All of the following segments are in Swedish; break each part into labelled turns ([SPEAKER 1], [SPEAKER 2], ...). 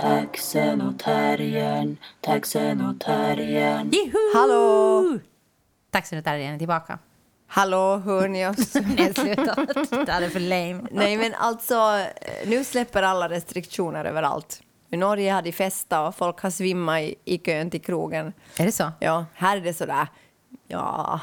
[SPEAKER 1] Taxen och terriern, taxen och terriern.
[SPEAKER 2] Juhu!
[SPEAKER 3] Hallå!
[SPEAKER 2] Tack så mycket, där är den tillbaka.
[SPEAKER 3] Hallå, hör ni oss?
[SPEAKER 2] Nej, sluta. Det här är för lame.
[SPEAKER 3] Nej, men alltså, eh, nu släpper alla restriktioner överallt. I Norge hade festa och folk har svimmat i, i kön till krogen.
[SPEAKER 2] Är det så?
[SPEAKER 3] Ja, här är det sådär, ja,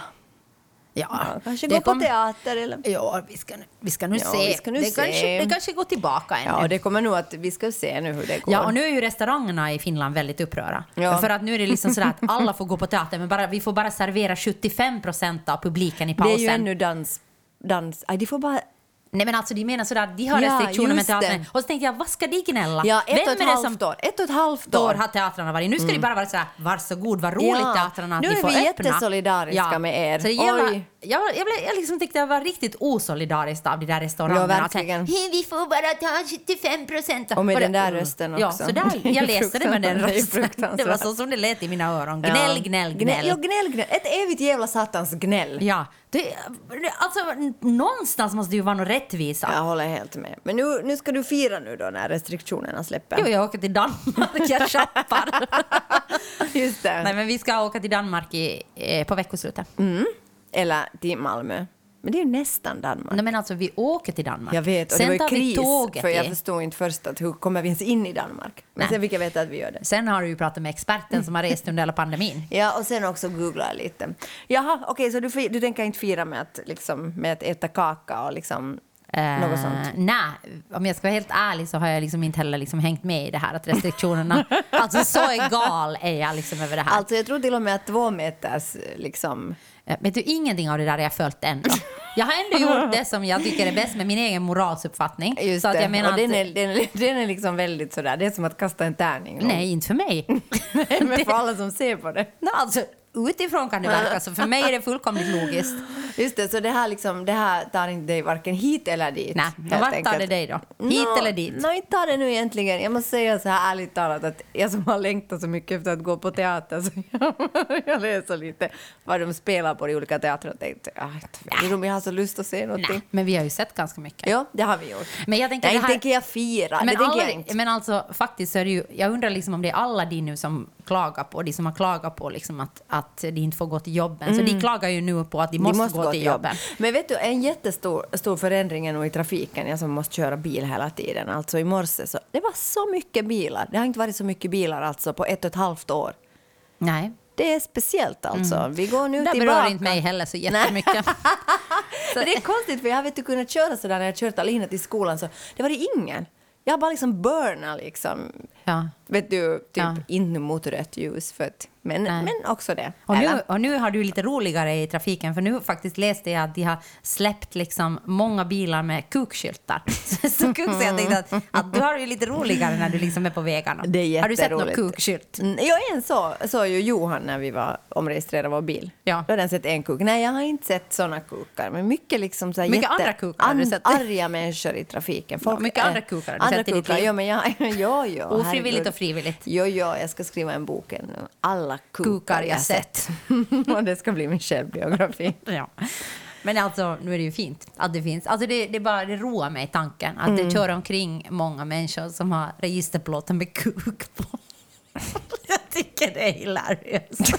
[SPEAKER 2] Ja.
[SPEAKER 3] kanske
[SPEAKER 2] Det
[SPEAKER 3] gå på
[SPEAKER 2] kommer-
[SPEAKER 3] teater eller...
[SPEAKER 2] Ja, vi ska, nu- vi ska nu
[SPEAKER 3] Ja,
[SPEAKER 2] se.
[SPEAKER 3] vi ska nu
[SPEAKER 2] det,
[SPEAKER 3] se.
[SPEAKER 2] Kanske, det kanske går tillbaka ännu.
[SPEAKER 3] Ja, det kommer nog att, vi ska se nu hur det går.
[SPEAKER 2] Ja, och nu är ju restaurangerna i Finland väldigt upprörda.
[SPEAKER 3] Ja.
[SPEAKER 2] För att nu är det liksom sådär att alla får gå på teater, men bara, vi får bara servera 75 procent av publiken i
[SPEAKER 3] det
[SPEAKER 2] pausen.
[SPEAKER 3] är ju ännu dans, dans, aj, de får bara
[SPEAKER 2] Nej men alltså de menar sådär att de har
[SPEAKER 3] Ja,
[SPEAKER 2] restriktioner med
[SPEAKER 3] just
[SPEAKER 2] teatern.
[SPEAKER 3] det.
[SPEAKER 2] Och så tänkte jag, vad ska de gnälla?
[SPEAKER 3] Ja, ett
[SPEAKER 2] Vem
[SPEAKER 3] och ett
[SPEAKER 2] är det som
[SPEAKER 3] halvt år. Ett och ett halvt
[SPEAKER 2] år
[SPEAKER 3] år.
[SPEAKER 2] har teatrarna varit? Nu ska de bara vara sådär, varsågod, vad roligt
[SPEAKER 3] Mm. Ja,
[SPEAKER 2] teatrarna att
[SPEAKER 3] nu
[SPEAKER 2] ni
[SPEAKER 3] är
[SPEAKER 2] får
[SPEAKER 3] vi
[SPEAKER 2] öppna.
[SPEAKER 3] jättesolidariska med er.
[SPEAKER 2] Så det gäller,
[SPEAKER 3] Oj.
[SPEAKER 2] jag, jag, blev, jag liksom tyckte jag var riktigt osolidariskt av de där restaurangerna.
[SPEAKER 3] Ja,
[SPEAKER 2] Att säga,
[SPEAKER 3] verkligen.
[SPEAKER 2] vi får bara ta 75 procent. mm.
[SPEAKER 3] Och med den där rösten
[SPEAKER 2] Ja,
[SPEAKER 3] också.
[SPEAKER 2] så där, jag läste det med den
[SPEAKER 3] Det är
[SPEAKER 2] rösten. Det var
[SPEAKER 3] fruktansvärt.
[SPEAKER 2] så som det lät i mina öron. Gnäll,
[SPEAKER 3] Ja.
[SPEAKER 2] gnäll,
[SPEAKER 3] Ja,
[SPEAKER 2] gnäll.
[SPEAKER 3] gnäll, gnäll. Ett evigt jävla satans gnäll.
[SPEAKER 2] Ja, det, alltså någonstans måste det ju vara någon rättvisa.
[SPEAKER 3] Jag håller helt med. Men nu, nu ska du fira nu då när restriktionerna släpper.
[SPEAKER 2] Jo, jag åker till Danmark, jag shoppar.
[SPEAKER 3] Just det.
[SPEAKER 2] Nej, men vi ska åka till Danmark i, eh, på veckoslutet.
[SPEAKER 3] Eller till Malmö. Men det är ju nästan Danmark.
[SPEAKER 2] Nej, men alltså vi åker till Danmark.
[SPEAKER 3] Jag vet, och
[SPEAKER 2] sen
[SPEAKER 3] det var
[SPEAKER 2] tar
[SPEAKER 3] ju kris.
[SPEAKER 2] vi tåget.
[SPEAKER 3] För jag
[SPEAKER 2] i-
[SPEAKER 3] förstod inte först att hur kommer vi ens in i Danmark? Men
[SPEAKER 2] Nej.
[SPEAKER 3] sen fick jag veta att vi gör det.
[SPEAKER 2] Sen har du ju pratat med experten som har rest under hela pandemin.
[SPEAKER 3] Ja, och sen också googla jag lite. Jaha, okej, så du, fi- du tänker inte fira med att, liksom, med att äta kaka och liksom
[SPEAKER 2] Eh,
[SPEAKER 3] något sånt?
[SPEAKER 2] Nej, om jag ska vara helt ärlig så har jag liksom inte heller liksom hängt med i det här att restriktionerna... alltså så egal är jag liksom över det här.
[SPEAKER 3] Alltså jag tror till och med att två meters liksom...
[SPEAKER 2] Eh, Vet du, ingenting av det där har jag följt ändå. Jag har ändå gjort det som jag tycker är bäst med min egen moralsuppfattning.
[SPEAKER 3] Just
[SPEAKER 2] så att
[SPEAKER 3] det.
[SPEAKER 2] jag menar
[SPEAKER 3] och den,
[SPEAKER 2] att-
[SPEAKER 3] är, den, är, den är liksom väldigt sådär, det är som att kasta en tärning.
[SPEAKER 2] Nej, inte för mig.
[SPEAKER 3] Men för alla som ser på det.
[SPEAKER 2] Nej, alltså, utifrån kan det verka så. För mig är det fullkomligt logiskt.
[SPEAKER 3] Just det, så det här, liksom, det här tar inte dig varken hit eller dit.
[SPEAKER 2] Nej, vart
[SPEAKER 3] helt
[SPEAKER 2] tar
[SPEAKER 3] enkelt.
[SPEAKER 2] det dig då? Hit
[SPEAKER 3] Nå,
[SPEAKER 2] eller dit?
[SPEAKER 3] nå, inte tar det nu egentligen. Jag måste säga så här ärligt talat att jag som har längtat så mycket efter att gå på teater så jag, jag läser lite vad de spelar på de olika teatrarna och tänkte ah, jag tror jag har så lust att se någonting.
[SPEAKER 2] Nej, men vi har ju sett ganska mycket.
[SPEAKER 3] Ja, det har vi gjort.
[SPEAKER 2] Men jag tänker
[SPEAKER 3] Nej,
[SPEAKER 2] det
[SPEAKER 3] inte
[SPEAKER 2] här-
[SPEAKER 3] tänker jag fira.
[SPEAKER 2] Men,
[SPEAKER 3] det tänker
[SPEAKER 2] alla,
[SPEAKER 3] jag inte.
[SPEAKER 2] men alltså faktiskt så är det ju, jag undrar liksom om det är alla de nu som klagar på, de som har klagat på liksom att, att de inte får gå till jobben. Så
[SPEAKER 3] Mm.
[SPEAKER 2] de klagar ju nu på att de
[SPEAKER 3] Ni
[SPEAKER 2] måste, gå, till jobben.
[SPEAKER 3] Men vet du, en jättestor stor förändring är nog i trafiken, jag som måste köra bil hela tiden. Alltså i morse så, det var så mycket bilar. Det har inte varit så mycket bilar alltså på ett och ett halvt år.
[SPEAKER 2] Nej,
[SPEAKER 3] Det är speciellt alltså. Vi går nu
[SPEAKER 2] Mm. det där
[SPEAKER 3] tillbaka.
[SPEAKER 2] berör inte mig heller så jättemycket.
[SPEAKER 3] Men det är konstigt för jag har inte kunnat köra sådär när jag kört Alina till skolan så det var det ingen. Jag har bara liksom burna liksom.
[SPEAKER 2] ja.
[SPEAKER 3] Vet du, typ
[SPEAKER 2] Ja.
[SPEAKER 3] in mot rött ljus för att, men,
[SPEAKER 2] Nej.
[SPEAKER 3] men också det.
[SPEAKER 2] Och nu,
[SPEAKER 3] Eller?
[SPEAKER 2] och nu har du lite roligare i trafiken för nu faktiskt läste jag att de har släppt liksom många bilar med kukskyltar. Så, så, kuk, så jag tänkte att, att du har det ju lite roligare när du liksom är på vägarna.
[SPEAKER 3] Det är
[SPEAKER 2] har du sett någon
[SPEAKER 3] jätteroligt.
[SPEAKER 2] kukskylt?
[SPEAKER 3] Mm, Ja, en så, så ju Johan när vi var omregistrerade vår bil.
[SPEAKER 2] Ja.
[SPEAKER 3] Då hade han sett en kuk. Nej, jag har inte sett sådana kukar. Men mycket liksom så här
[SPEAKER 2] Mycket
[SPEAKER 3] jätte-
[SPEAKER 2] andra kukar har du sett.
[SPEAKER 3] arga människor i trafiken.
[SPEAKER 2] Ja, mycket
[SPEAKER 3] är-
[SPEAKER 2] andra kukar har du
[SPEAKER 3] andra
[SPEAKER 2] sett i ditt
[SPEAKER 3] kukar.
[SPEAKER 2] liv.
[SPEAKER 3] Ja, men jag, ja, ja,
[SPEAKER 2] Ofrivilligt
[SPEAKER 3] herregud.
[SPEAKER 2] och frivilligt.
[SPEAKER 3] Jo, ja, jag ska skriva en bok ännu. Alla kukar,
[SPEAKER 2] Kukar jag
[SPEAKER 3] och det ska bli min självbiografi.
[SPEAKER 2] Ja. Men alltså, nu är det ju fint att det finns. Alltså det, det, bara, det roar mig tanken att
[SPEAKER 3] Mm.
[SPEAKER 2] det kör omkring många människor som har registerplåten med kuk på. Jag tycker det är hilariöst.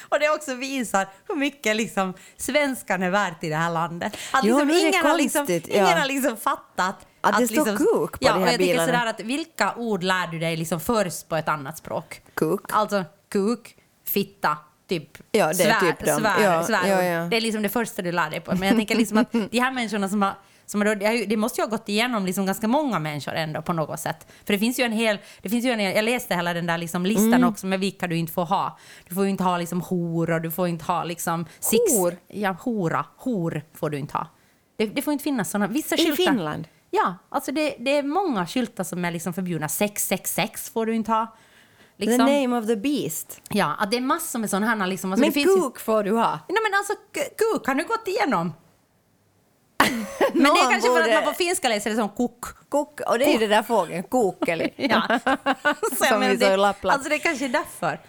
[SPEAKER 2] Och det också visar hur mycket liksom svenskan är värt i det här landet. Att
[SPEAKER 3] Jo,
[SPEAKER 2] liksom
[SPEAKER 3] nu är det
[SPEAKER 2] ingen, har liksom,
[SPEAKER 3] konstigt, ja.
[SPEAKER 2] ingen har liksom fattat
[SPEAKER 3] Att det står
[SPEAKER 2] liksom,
[SPEAKER 3] kuk på
[SPEAKER 2] ja,
[SPEAKER 3] de här
[SPEAKER 2] och jag tycker
[SPEAKER 3] bilarna.
[SPEAKER 2] sådär att Vilka ord lär du dig liksom först på ett annat språk?
[SPEAKER 3] Kuk.
[SPEAKER 2] Alltså kuk, fitta, typ
[SPEAKER 3] Ja, det är
[SPEAKER 2] svär,
[SPEAKER 3] typ de.
[SPEAKER 2] svär,
[SPEAKER 3] Ja,
[SPEAKER 2] svärord.
[SPEAKER 3] ja, ja.
[SPEAKER 2] Det är liksom det första du lär dig på. Men jag tänker liksom att de här människorna som har som har, det har ju- det måste ju ha gått igenom liksom ganska många människor ändå på något sätt. För det finns ju en hel, det finns ju en, hel- jag läste hela den där liksom listan
[SPEAKER 3] Mm.
[SPEAKER 2] också med vilka du inte får ha. Du får ju inte ha liksom horor, du får inte ha liksom... Six,
[SPEAKER 3] Hor?
[SPEAKER 2] Ja, hora. Hor får du inte ha. Det, det får inte finnas sådana. Vissa
[SPEAKER 3] I
[SPEAKER 2] skyltar.
[SPEAKER 3] Finland?
[SPEAKER 2] Ja, alltså det, det är många skyltar som är liksom förbjudna. 666 får du inte ha. Liksom.
[SPEAKER 3] The name of the beast.
[SPEAKER 2] Ja, att det är massor med sådana här liksom. Alltså,
[SPEAKER 3] men
[SPEAKER 2] det finns ju-
[SPEAKER 3] kuk får du ha.
[SPEAKER 2] Nej men alltså k- kuk har nu gått igenom. Men det är
[SPEAKER 3] Någon
[SPEAKER 2] kanske för att
[SPEAKER 3] borde-
[SPEAKER 2] man på finska läser det som kuk.
[SPEAKER 3] Kuk, och det är ju den där fågeln, kukeli.
[SPEAKER 2] Ja. Så jag
[SPEAKER 3] Som
[SPEAKER 2] menar,
[SPEAKER 3] vi sa i
[SPEAKER 2] det,
[SPEAKER 3] Lappland.
[SPEAKER 2] alltså det kanske är därför.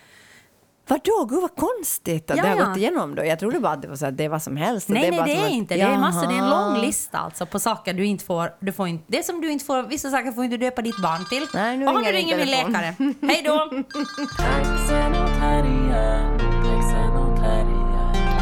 [SPEAKER 3] Vadå, gud vad konstigt att
[SPEAKER 2] Ja,
[SPEAKER 3] det har
[SPEAKER 2] ja.
[SPEAKER 3] gått igenom då. Jag trodde bara att det var så att det är vad som helst.
[SPEAKER 2] Nej,
[SPEAKER 3] bara
[SPEAKER 2] nej, det
[SPEAKER 3] som
[SPEAKER 2] är
[SPEAKER 3] att-
[SPEAKER 2] inte. Det är massor, det är en
[SPEAKER 3] Jaha.
[SPEAKER 2] lång lista alltså på saker du inte får. Du får inte, det är som du inte får, vissa saker får inte döpa ditt barn till.
[SPEAKER 3] Nej, nu
[SPEAKER 2] Jaha,
[SPEAKER 3] ringer
[SPEAKER 2] ringer
[SPEAKER 3] din
[SPEAKER 2] min
[SPEAKER 3] telefon.
[SPEAKER 2] läkare. Hej då!
[SPEAKER 1] Taxenotarian, taxenotarian,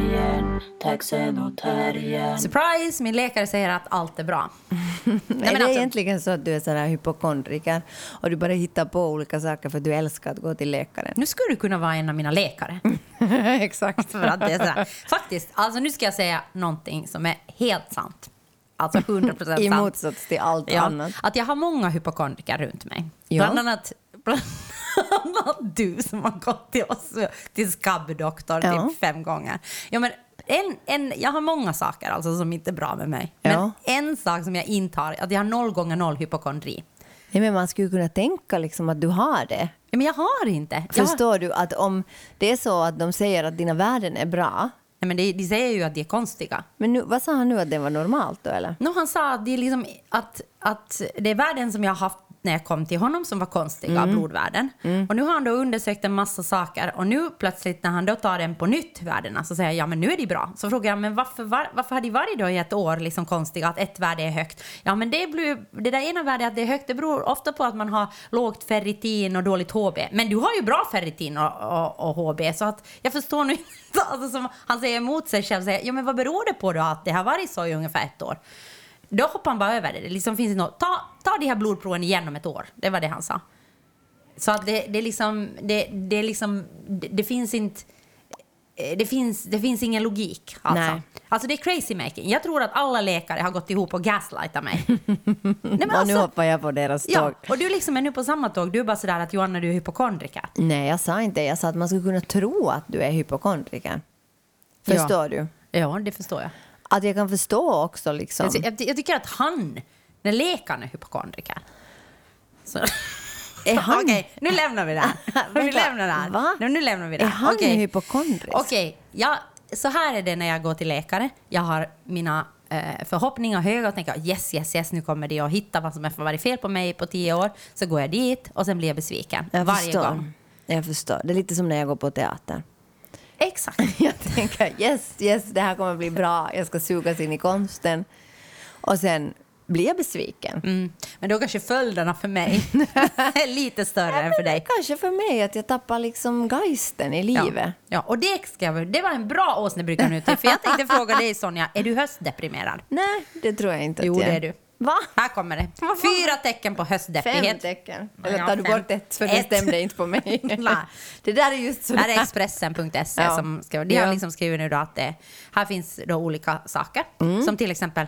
[SPEAKER 1] taxenotarian, taxenotarian.
[SPEAKER 2] Surprise! Min läkare säger att allt är bra. Nej,
[SPEAKER 3] är
[SPEAKER 2] men
[SPEAKER 3] det
[SPEAKER 2] alltså-
[SPEAKER 3] egentligen så att du är sån här hypokondriker och du bara hittar på olika saker för att du älskar att gå till läkaren?
[SPEAKER 2] Nu skulle du kunna vara en av mina läkare.
[SPEAKER 3] Exakt.
[SPEAKER 2] För att det är sådär. Faktiskt, alltså nu ska jag säga någonting som är helt sant. Alltså 100 procent
[SPEAKER 3] I
[SPEAKER 2] sant.
[SPEAKER 3] motsats till allt
[SPEAKER 2] ja,
[SPEAKER 3] annat.
[SPEAKER 2] Att jag har många hypokondriker runt mig.
[SPEAKER 3] Ja.
[SPEAKER 2] Bland, annat, bland annat du som har gått till oss, till skabbdoktor
[SPEAKER 3] Ja.
[SPEAKER 2] typ fem gånger. Ja, men en, en, jag har många saker alltså som inte är bra med mig.
[SPEAKER 3] Ja.
[SPEAKER 2] Men en sak som jag inte har, att jag har noll gånger noll hypokondri.
[SPEAKER 3] Nej, men man skulle kunna tänka liksom att du har det.
[SPEAKER 2] Ja, Men jag har inte. Jag har,
[SPEAKER 3] Förstår du att om det är så att de säger att dina värden är bra,
[SPEAKER 2] nej, men de, de säger ju att de är konstiga.
[SPEAKER 3] men nu, vad sa han nu att det var normalt då eller?
[SPEAKER 2] No, han sa att det, är liksom att, att det är värden som jag har haft när jag kom till honom som var konstiga, blodvärden. Och nu har han då undersökt en massa saker och nu plötsligt när han då tar den på nytt, värdena, så säger jag ja men nu är det bra. Så frågar jag men varför, var, varför har de varit då i ett år liksom konstiga, att ett värde är högt? Ja men det, blir, det där ena värdet att det är högt, det beror ofta på att man har lågt ferritin och dåligt HB. Men du har ju bra ferritin och, och, och HB så att jag förstår nu inte, alltså som han säger emot sig själv, säger, ja men vad beror det på då att det har varit så i ungefär ett år? Då hoppar han bara över det. det liksom finns något. Ta, ta de här blodproven igen om ett år. Det var det han sa. Så att det, det, är liksom, det, det, är liksom, det, det finns inte... eh, Det finns, det finns ingen logik. Alltså.
[SPEAKER 3] Nej.
[SPEAKER 2] alltså det är crazy making. Jag tror att alla läkare har gått ihop och gaslightat mig. Nej, men
[SPEAKER 3] och nu
[SPEAKER 2] alltså-
[SPEAKER 3] hoppar jag på deras
[SPEAKER 2] ja,
[SPEAKER 3] tåg.
[SPEAKER 2] och du liksom är nu på samma tåg. Du är bara sådär att Johanna du är hypokondriker.
[SPEAKER 3] Nej, jag sa inte det. Jag sa att man skulle kunna tro att du är hypokondriker. Förstår du?
[SPEAKER 2] Ja, det förstår jag.
[SPEAKER 3] Att jag kan förstå också liksom.
[SPEAKER 2] Jag, ty- jag, ty- jag tycker att han, när läkaren är hypokondriker. Så.
[SPEAKER 3] Är han-
[SPEAKER 2] Okej, nu lämnar vi det här. vi
[SPEAKER 3] Vänta,
[SPEAKER 2] lämnar det här.
[SPEAKER 3] va?
[SPEAKER 2] Nej, nu lämnar vi det
[SPEAKER 3] Är
[SPEAKER 2] här.
[SPEAKER 3] han
[SPEAKER 2] Okej.
[SPEAKER 3] hypokondrisk?
[SPEAKER 2] Okej, ja, så här är det när jag går till läkare. Jag har mina eh, förhoppningar höga och tänker yes, yes, yes, nu kommer de att hitta vad som har varit fel på mig på tio år. Så går jag dit och sen blir jag besviken
[SPEAKER 3] Jag
[SPEAKER 2] varje
[SPEAKER 3] förstår.
[SPEAKER 2] gång.
[SPEAKER 3] Jag förstår. Det är lite som när jag går på teater.
[SPEAKER 2] Exakt.
[SPEAKER 3] Jag tänker yes, yes, det här kommer bli bra. Jag ska sugas in i konsten. Och sen blir jag besviken.
[SPEAKER 2] Mm. Men då kanske följderna för mig är lite större än för dig.
[SPEAKER 3] Kanske för mig att jag tappar liksom geisten i livet.
[SPEAKER 2] Ja, ja och det, ska, jag- det var en bra åsnebrygga nu till, för jag tänkte fråga dig Sonja, är du höstdeprimerad?
[SPEAKER 3] Nej, det tror jag inte att
[SPEAKER 2] Jo,
[SPEAKER 3] jag
[SPEAKER 2] det är du.
[SPEAKER 3] Va?
[SPEAKER 2] Här kommer det. Fyra tecken på
[SPEAKER 3] Fem
[SPEAKER 2] höstdeppighet.
[SPEAKER 3] tecken.
[SPEAKER 2] Ja,
[SPEAKER 3] Eller tar du
[SPEAKER 2] fem.
[SPEAKER 3] bort ett för det
[SPEAKER 2] Ett.
[SPEAKER 3] stämde inte på mig.
[SPEAKER 2] Nej.
[SPEAKER 3] det där är just så
[SPEAKER 2] Där är Expressen.se
[SPEAKER 3] Ja.
[SPEAKER 2] E som skriver, de har
[SPEAKER 3] Ja.
[SPEAKER 2] liksom skrivit nu då att det, här finns då olika saker. Som till exempel,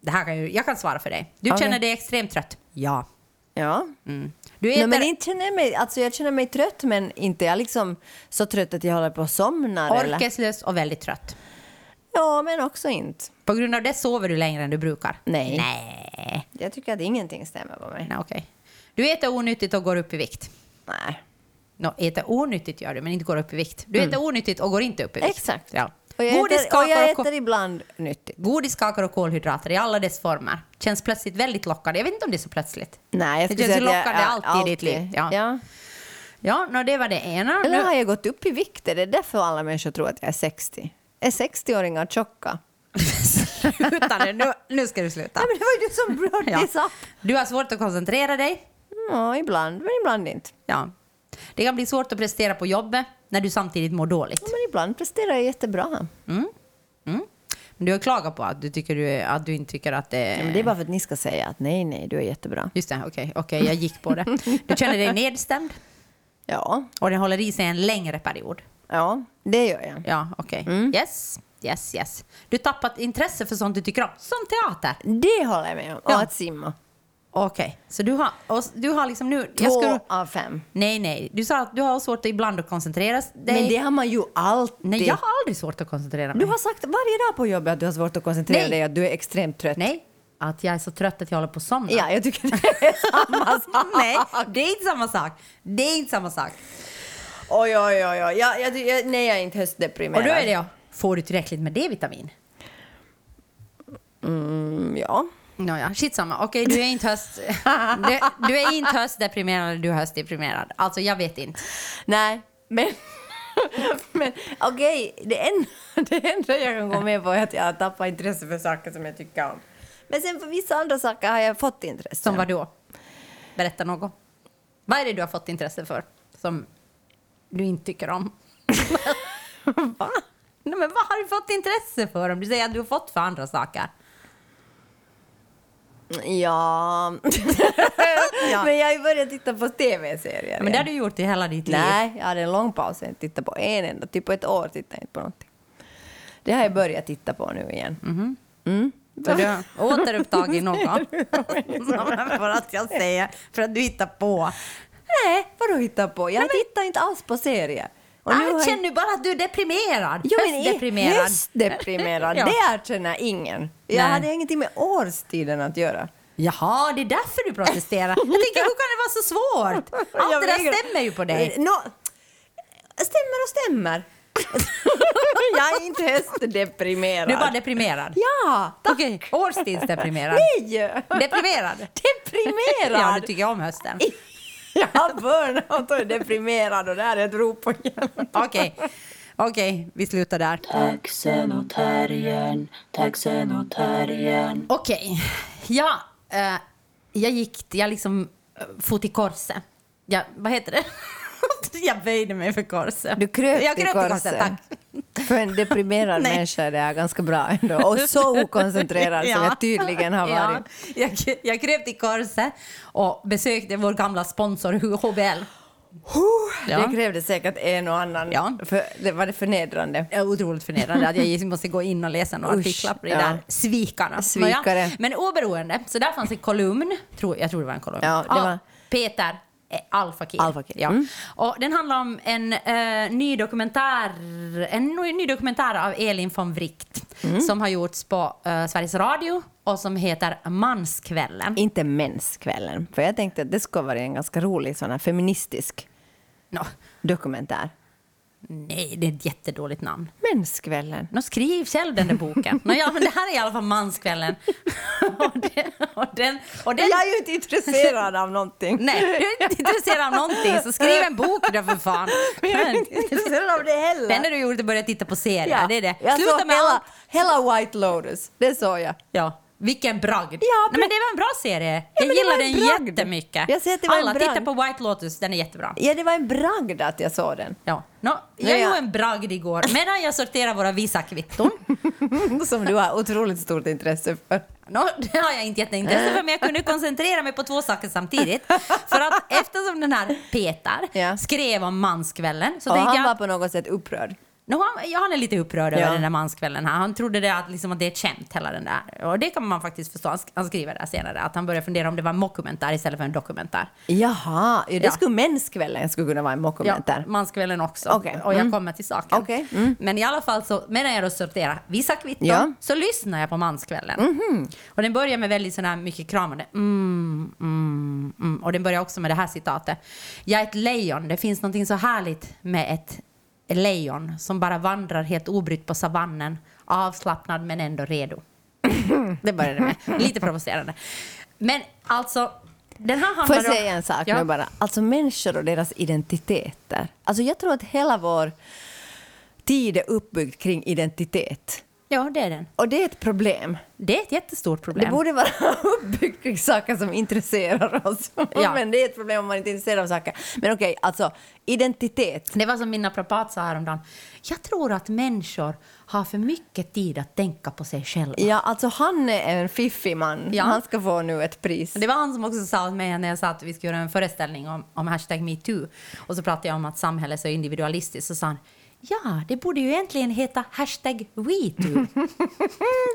[SPEAKER 2] det här kan ju, jag kan svara för dig. Du
[SPEAKER 3] Mm. Okej.
[SPEAKER 2] känner dig extremt trött. Ja.
[SPEAKER 3] Ja.
[SPEAKER 2] Mm. Du
[SPEAKER 3] Nej,
[SPEAKER 2] äter,
[SPEAKER 3] men inte känner jag, mig, alltså jag känner mig trött, men inte jag liksom så trött att jag håller på att somna. Eller?
[SPEAKER 2] orkeslös och väldigt trött.
[SPEAKER 3] Ja, men också inte.
[SPEAKER 2] På grund av det sover du längre än du brukar.
[SPEAKER 3] Nej.
[SPEAKER 2] Nej.
[SPEAKER 3] Jag tycker att ingenting stämmer på mig.
[SPEAKER 2] Nej, okej. Du äter onyttigt och går upp i vikt.
[SPEAKER 3] Nej.
[SPEAKER 2] No, äter onyttigt gör du, men inte går upp i vikt. Du äter onyttigt och går inte upp i vikt.
[SPEAKER 3] Mm. Exakt.
[SPEAKER 2] Ja.
[SPEAKER 3] Och jag,
[SPEAKER 2] Godis,
[SPEAKER 3] äter, och jag
[SPEAKER 2] kakor, och
[SPEAKER 3] äter
[SPEAKER 2] ko-
[SPEAKER 3] ibland nyttigt.
[SPEAKER 2] godis, kakor och kolhydrater i alla dess former. Känns plötsligt väldigt lockande. Jag vet inte om det är så plötsligt.
[SPEAKER 3] Nej, jag
[SPEAKER 2] Det
[SPEAKER 3] skulle
[SPEAKER 2] känns
[SPEAKER 3] säga att
[SPEAKER 2] lockande
[SPEAKER 3] jag,
[SPEAKER 2] alltid i ditt liv. Ja.
[SPEAKER 3] Ja.
[SPEAKER 2] Ja, nå, det var det ena.
[SPEAKER 3] Eller
[SPEAKER 2] Nu,
[SPEAKER 3] har jag gått upp i vikt? Är det därför alla människor tror att jag är 60? Är 60-åringar tjocka?
[SPEAKER 2] sluta nu, nu, nu ska du sluta.
[SPEAKER 3] Nej, men det var ju du
[SPEAKER 2] Ja.
[SPEAKER 3] som brådde ja.
[SPEAKER 2] Du har svårt att koncentrera dig.
[SPEAKER 3] ja, ibland, men ibland inte.
[SPEAKER 2] Ja. Det kan bli svårt att prestera på jobbet när du samtidigt mår dåligt.
[SPEAKER 3] Ja, men ibland presterar jag jättebra.
[SPEAKER 2] Mm. Men du har klagat på att du, tycker du, är- att du inte tycker att det
[SPEAKER 3] Ja, men det är bara för att ni ska säga att nej, nej, du är jättebra.
[SPEAKER 2] Just det, okej, okej, jag gick på det. Du känner dig nedstämd
[SPEAKER 3] Ja,
[SPEAKER 2] och det håller i sig en längre period.
[SPEAKER 3] ja, det gör jag.
[SPEAKER 2] Ja, okej.
[SPEAKER 3] Mm.
[SPEAKER 2] Yes, yes, yes. Du tappat intresse för sånt du tycker om, som teater.
[SPEAKER 3] Det håller jag med om. Och
[SPEAKER 2] Ja.
[SPEAKER 3] att simma.
[SPEAKER 2] Okej, så du har, och s- du har liksom nu...
[SPEAKER 3] Två
[SPEAKER 2] jag skulle-
[SPEAKER 3] av fem.
[SPEAKER 2] nej, nej. Du sa att du har svårt att ibland att koncentrera dig.
[SPEAKER 3] Men det har man ju alltid.
[SPEAKER 2] nej, jag har aldrig svårt att koncentrera mig.
[SPEAKER 3] Du har sagt varje dag på jobbet att du har svårt att koncentrera
[SPEAKER 2] Nej.
[SPEAKER 3] dig och att du är extremt trött.
[SPEAKER 2] Nej, att jag är så trött att jag håller på att somna.
[SPEAKER 3] Ja, jag tycker det är samma sak.
[SPEAKER 2] nej, det är inte samma sak. Det är inte samma sak.
[SPEAKER 3] Oj, oj, oj. oj. Jag, jag, jag, nej, jag är inte höstdeprimerad.
[SPEAKER 2] Och då är det ja, får du tillräckligt med D-vitamin?
[SPEAKER 3] Mm, ja.
[SPEAKER 2] Nåja, skitsamma. Okej, du är inte höst... Du, du är inte höstdeprimerad, eller du är höstdeprimerad. Alltså, jag vet inte.
[SPEAKER 3] Nej, men... men okej, det, en, det enda jag kan gå med på är att jag har tappat intresse för saker som jag tycker om. Men sen för vissa andra saker har jag fått intresse.
[SPEAKER 2] Som vad då? Berätta något. Vad är det du har fått intresse för som du inte tycker om?
[SPEAKER 3] Va?
[SPEAKER 2] Nej, men vad har du fått intresse för om du säger att du har fått för andra saker?
[SPEAKER 3] Ja. Men jag har ju börjat titta på tv-serier.
[SPEAKER 2] Men det har du gjort i hela ditt liv.
[SPEAKER 3] Nej, jag hade en lång paus. Jag tittade på en enda. Typ på ett år tittade jag inte på någonting. Det har jag börjat titta på nu igen.
[SPEAKER 2] Mhm.
[SPEAKER 3] Mm.
[SPEAKER 2] Så du har återupptagit något. för att jag säger, för att du hittar på.
[SPEAKER 3] Nej, vadå hitta på? Jag tittar inte alls på serier. Och nu har jag-
[SPEAKER 2] Jag Ah, känner bara att du är deprimerad.
[SPEAKER 3] Jo, men i-
[SPEAKER 2] Höstdeprimerad.
[SPEAKER 3] Höstdeprimerad,
[SPEAKER 2] Ja.
[SPEAKER 3] det erkänner ingen. Jag
[SPEAKER 2] Nej.
[SPEAKER 3] hade ingenting med årstiden att göra.
[SPEAKER 2] Jaha, det är därför du protesterar. Jag tänker, hur kan det vara så svårt? Allt
[SPEAKER 3] Jag
[SPEAKER 2] det där
[SPEAKER 3] vägrar-
[SPEAKER 2] stämmer ju på dig.
[SPEAKER 3] Nå, stämmer och stämmer. jag är inte höstdeprimerad.
[SPEAKER 2] Du är bara deprimerad.
[SPEAKER 3] Ja!
[SPEAKER 2] Okej, årstidsdeprimerad.
[SPEAKER 3] Nej!
[SPEAKER 2] Deprimerad.
[SPEAKER 3] Deprimerad?
[SPEAKER 2] Ja, du tycker om hösten.
[SPEAKER 3] Jag har burnout och är deprimerad och det här är ett rop på hjälp.
[SPEAKER 2] Okej, okej, vi slutar där.
[SPEAKER 1] Taxen och terriern, taxen och terriern.
[SPEAKER 2] Okej. Ja, eh, jag gick, jag liksom eh, for till korset. Jag, vad heter det? jag böjde mig för korset.
[SPEAKER 3] Du kröp
[SPEAKER 2] jag
[SPEAKER 3] till
[SPEAKER 2] kröp
[SPEAKER 3] korset.
[SPEAKER 2] Tack.
[SPEAKER 3] För en deprimerad
[SPEAKER 2] Nej.
[SPEAKER 3] människa är det här ganska bra ändå. Och så okoncentrerad som jag tydligen har
[SPEAKER 2] Ja.
[SPEAKER 3] varit.
[SPEAKER 2] Jag, kr- jag kröp till korset och besökte vår gamla sponsor HBL. Ja.
[SPEAKER 3] Det krävde säkert en och annan.
[SPEAKER 2] Ja.
[SPEAKER 3] För, det var det förnedrande.
[SPEAKER 2] Jag är otroligt förnedrande att jag måste gå in och läsa några
[SPEAKER 3] Usch,
[SPEAKER 2] artiklar på det
[SPEAKER 3] ja.
[SPEAKER 2] där svikarna.
[SPEAKER 3] Svikare.
[SPEAKER 2] Nåja, Men oberoende, så där fanns en kolumn, tror, jag tror det var en kolumn,
[SPEAKER 3] Ja, det
[SPEAKER 2] av
[SPEAKER 3] var-
[SPEAKER 2] Peter eh, Alpha Kid.
[SPEAKER 3] Alpha Kid,
[SPEAKER 2] Ja.
[SPEAKER 3] mm.
[SPEAKER 2] Och den handlar om en, eh, ny dokumentär, en ny, ny dokumentär av Elin von Wright
[SPEAKER 3] Mm.
[SPEAKER 2] som har gjorts på eh, Sveriges Radio och som heter Manskvällen.
[SPEAKER 3] Inte menskvällen. För jag tänkte att det skulle vara en ganska rolig sån här feministisk
[SPEAKER 2] Nå,
[SPEAKER 3] dokumentär.
[SPEAKER 2] nej, det är ett jättedåligt namn.
[SPEAKER 3] Menskvällen.
[SPEAKER 2] Nå, skriv själv den där boken. Nå, ja, men det här är i alla fall Manskvällen. och, den, och, den, och den
[SPEAKER 3] Jag är ju inte intresserad av någonting.
[SPEAKER 2] Nej, du är inte intresserad av någonting så skriv en bok då för fan.
[SPEAKER 3] Men jag är inte intresserad av det heller.
[SPEAKER 2] Det enda du gjorde är att börja titta på serier, det är det.
[SPEAKER 3] Jag
[SPEAKER 2] Sluta
[SPEAKER 3] såg
[SPEAKER 2] med
[SPEAKER 3] hela,
[SPEAKER 2] allt.
[SPEAKER 3] hela White Lotus. Det såg jag.
[SPEAKER 2] Ja, vilken bragd.
[SPEAKER 3] bra-
[SPEAKER 2] Nej, men det var en bra serie.
[SPEAKER 3] men
[SPEAKER 2] jag
[SPEAKER 3] det var
[SPEAKER 2] gillar
[SPEAKER 3] en
[SPEAKER 2] den
[SPEAKER 3] bragd.
[SPEAKER 2] jättemycket.
[SPEAKER 3] Jag säger att det var en
[SPEAKER 2] Alla,
[SPEAKER 3] bragd.
[SPEAKER 2] titta på White Lotus, den är jättebra.
[SPEAKER 3] Ja, det var en bragd att jag såg den.
[SPEAKER 2] Ja. Nå,
[SPEAKER 3] Ja,
[SPEAKER 2] jag
[SPEAKER 3] ja.
[SPEAKER 2] gjorde en bragd igår medan jag sorterade våra Visa-kvitton.
[SPEAKER 3] Som du har otroligt stort intresse för.
[SPEAKER 2] Nå, det har jag inte jätteintresse för, men jag kunde koncentrera mig på två saker samtidigt. För att eftersom den här Peter
[SPEAKER 3] Ja.
[SPEAKER 2] skrev om manskvällen så
[SPEAKER 3] och
[SPEAKER 2] tänkte
[SPEAKER 3] han
[SPEAKER 2] jag...
[SPEAKER 3] var på något sätt upprörd.
[SPEAKER 2] No, han, ja, han är lite upprörd över
[SPEAKER 3] Ja.
[SPEAKER 2] den där manskvällen. Här. Han trodde det att, liksom, att det är ett skämt, hela den där. Och det kan man faktiskt förstå. Han, sk- han skriver där senare att han började fundera om det var en mockumentär istället för en dokumentär.
[SPEAKER 3] Jaha, ja, det
[SPEAKER 2] Ja.
[SPEAKER 3] skulle menskvällen skulle kunna vara en mockumentär.
[SPEAKER 2] Ja, manskvällen också.
[SPEAKER 3] Okej,
[SPEAKER 2] Och jag
[SPEAKER 3] mm.
[SPEAKER 2] kommer till saken.
[SPEAKER 3] Okej, Mm.
[SPEAKER 2] Men i alla fall så, medan jag då sorterar vissa kvitton,
[SPEAKER 3] Ja. Mhm.
[SPEAKER 2] så lyssnar jag på manskvällen. Och den börjar med väldigt sån här mycket kramande. Mm, mm, mm. Och den börjar också med det här citatet. Jag är ett lejon, det finns någonting så härligt med ett lejon som bara vandrar helt obrytt på savannen, avslappnad men ändå redo. det börjar det med. Lite provocerande. Men alltså, den här handlar
[SPEAKER 3] Får jag
[SPEAKER 2] om-
[SPEAKER 3] säga en sak
[SPEAKER 2] Ja.
[SPEAKER 3] nu bara? Alltså människor och deras identiteter. Alltså jag tror att hela vår tid är uppbyggd kring identitet.
[SPEAKER 2] Ja, det är den.
[SPEAKER 3] Och det är ett problem.
[SPEAKER 2] Det är ett jättestort problem.
[SPEAKER 3] Det borde vara uppbyggt kring saker som intresserar oss.
[SPEAKER 2] Ja.
[SPEAKER 3] Men det är ett problem om man inte är intresserad av saker. Men okej, alltså identitet.
[SPEAKER 2] Det var som min naprapat sa häromdagen. Jag tror att människor har för mycket tid att tänka på sig själva.
[SPEAKER 3] Ja, alltså han är en fiffig man.
[SPEAKER 2] Ja.
[SPEAKER 3] Han ska få nu ett pris.
[SPEAKER 2] Det var han som också sa åt mig när jag sa att vi skulle göra en föreställning om, om hashtag metoo. Och så pratade jag om att samhället är så individualistiskt. Så sa han, ja, det borde ju egentligen heta hashtag WeToo.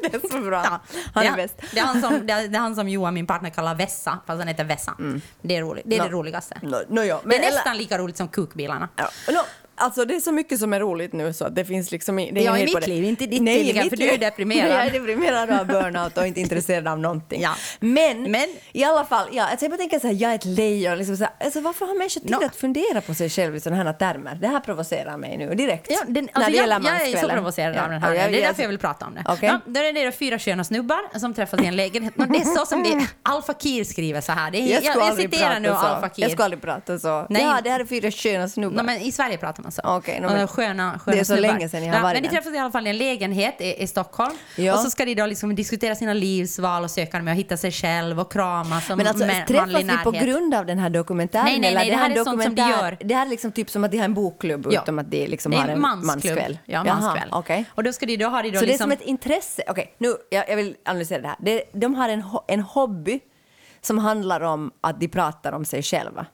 [SPEAKER 3] Det är så bra.
[SPEAKER 2] Ja,
[SPEAKER 3] han är
[SPEAKER 2] det,
[SPEAKER 3] bäst.
[SPEAKER 2] Det är han, som, det, är, det är han som Johan, min partner, kallar Vessa, fast han heter Vessan. Det är, roligt. Det, är det
[SPEAKER 3] Mm. Nå.
[SPEAKER 2] roligaste.
[SPEAKER 3] Nå- nåja,
[SPEAKER 2] det är
[SPEAKER 3] men eller-
[SPEAKER 2] nästan lika roligt som kukbilarna.
[SPEAKER 3] Ja, nå, Alltså det är så mycket som är roligt nu så att det finns liksom... i- Det är
[SPEAKER 2] Ja,
[SPEAKER 3] ingen
[SPEAKER 2] i
[SPEAKER 3] hejd på
[SPEAKER 2] mitt
[SPEAKER 3] det.
[SPEAKER 2] liv, inte i ditt
[SPEAKER 3] Nej, i
[SPEAKER 2] tydligen,
[SPEAKER 3] mitt
[SPEAKER 2] för du är
[SPEAKER 3] liv.
[SPEAKER 2] deprimerad.
[SPEAKER 3] Jag är deprimerad och har burnout och inte intresserad av någonting.
[SPEAKER 2] Ja.
[SPEAKER 3] Men,
[SPEAKER 2] Men-
[SPEAKER 3] i alla fall, ja, alltså jag bara tänker så här, jag är ett lejon. Liksom så här, alltså varför har människor tid
[SPEAKER 2] Nå.
[SPEAKER 3] att fundera på sig själv i sådana här termer? Det här provocerar mig nu direkt.
[SPEAKER 2] Ja, den,
[SPEAKER 3] När
[SPEAKER 2] alltså
[SPEAKER 3] det
[SPEAKER 2] jag,
[SPEAKER 3] gäller
[SPEAKER 2] jag är så
[SPEAKER 3] manskvällen.
[SPEAKER 2] provocerad
[SPEAKER 3] Ja,
[SPEAKER 2] av den här.
[SPEAKER 3] och
[SPEAKER 2] det är därför jag vill prata om det.
[SPEAKER 3] Okej.
[SPEAKER 2] Ja, då är det deras fyra sköna snubbar som träffas i en lägenhet. Men det är så som det Al Fakir skriver så här. Det är,
[SPEAKER 3] Jag,
[SPEAKER 2] jag,
[SPEAKER 3] skulle
[SPEAKER 2] jag,
[SPEAKER 3] aldrig
[SPEAKER 2] citerar nu
[SPEAKER 3] prata så.
[SPEAKER 2] Al Fakir.
[SPEAKER 3] Jag skulle aldrig prata så.
[SPEAKER 2] Nej.
[SPEAKER 3] Ja, det här är fyra sköna snubbar.
[SPEAKER 2] No, men I Sverige pratar man så.
[SPEAKER 3] Okej, no,
[SPEAKER 2] Och
[SPEAKER 3] men-
[SPEAKER 2] sköna, sköna
[SPEAKER 3] det är så
[SPEAKER 2] snubbar.
[SPEAKER 3] länge sedan jag har varit
[SPEAKER 2] Men de
[SPEAKER 3] där.
[SPEAKER 2] träffas i alla fall i en lägenhet i, i Stockholm.
[SPEAKER 3] Ja.
[SPEAKER 2] Och så ska de då liksom diskutera sina livsval och söka med att hitta sig själv och krama som
[SPEAKER 3] Men alltså,
[SPEAKER 2] mä-
[SPEAKER 3] träffas
[SPEAKER 2] manlig
[SPEAKER 3] vi på
[SPEAKER 2] närhet.
[SPEAKER 3] grund av den här dokumentären?
[SPEAKER 2] Nej, nej,
[SPEAKER 3] eller
[SPEAKER 2] nej, det här
[SPEAKER 3] en
[SPEAKER 2] är sånt som de gör.
[SPEAKER 3] Det här är liksom typ som att de har en bokklubb
[SPEAKER 2] Ja.
[SPEAKER 3] utom att de liksom
[SPEAKER 2] det är
[SPEAKER 3] har en
[SPEAKER 2] mansklubb.
[SPEAKER 3] manskväll.
[SPEAKER 2] Ja,
[SPEAKER 3] Jaha,
[SPEAKER 2] manskväll.
[SPEAKER 3] okej.
[SPEAKER 2] Och då ska de då ha de då
[SPEAKER 3] Så
[SPEAKER 2] liksom...
[SPEAKER 3] det är som ett intresse. Okej, nu, jag, jag vill analysera det här. Det, de har en, ho- en hobby som handlar om att de pratar om sig själva.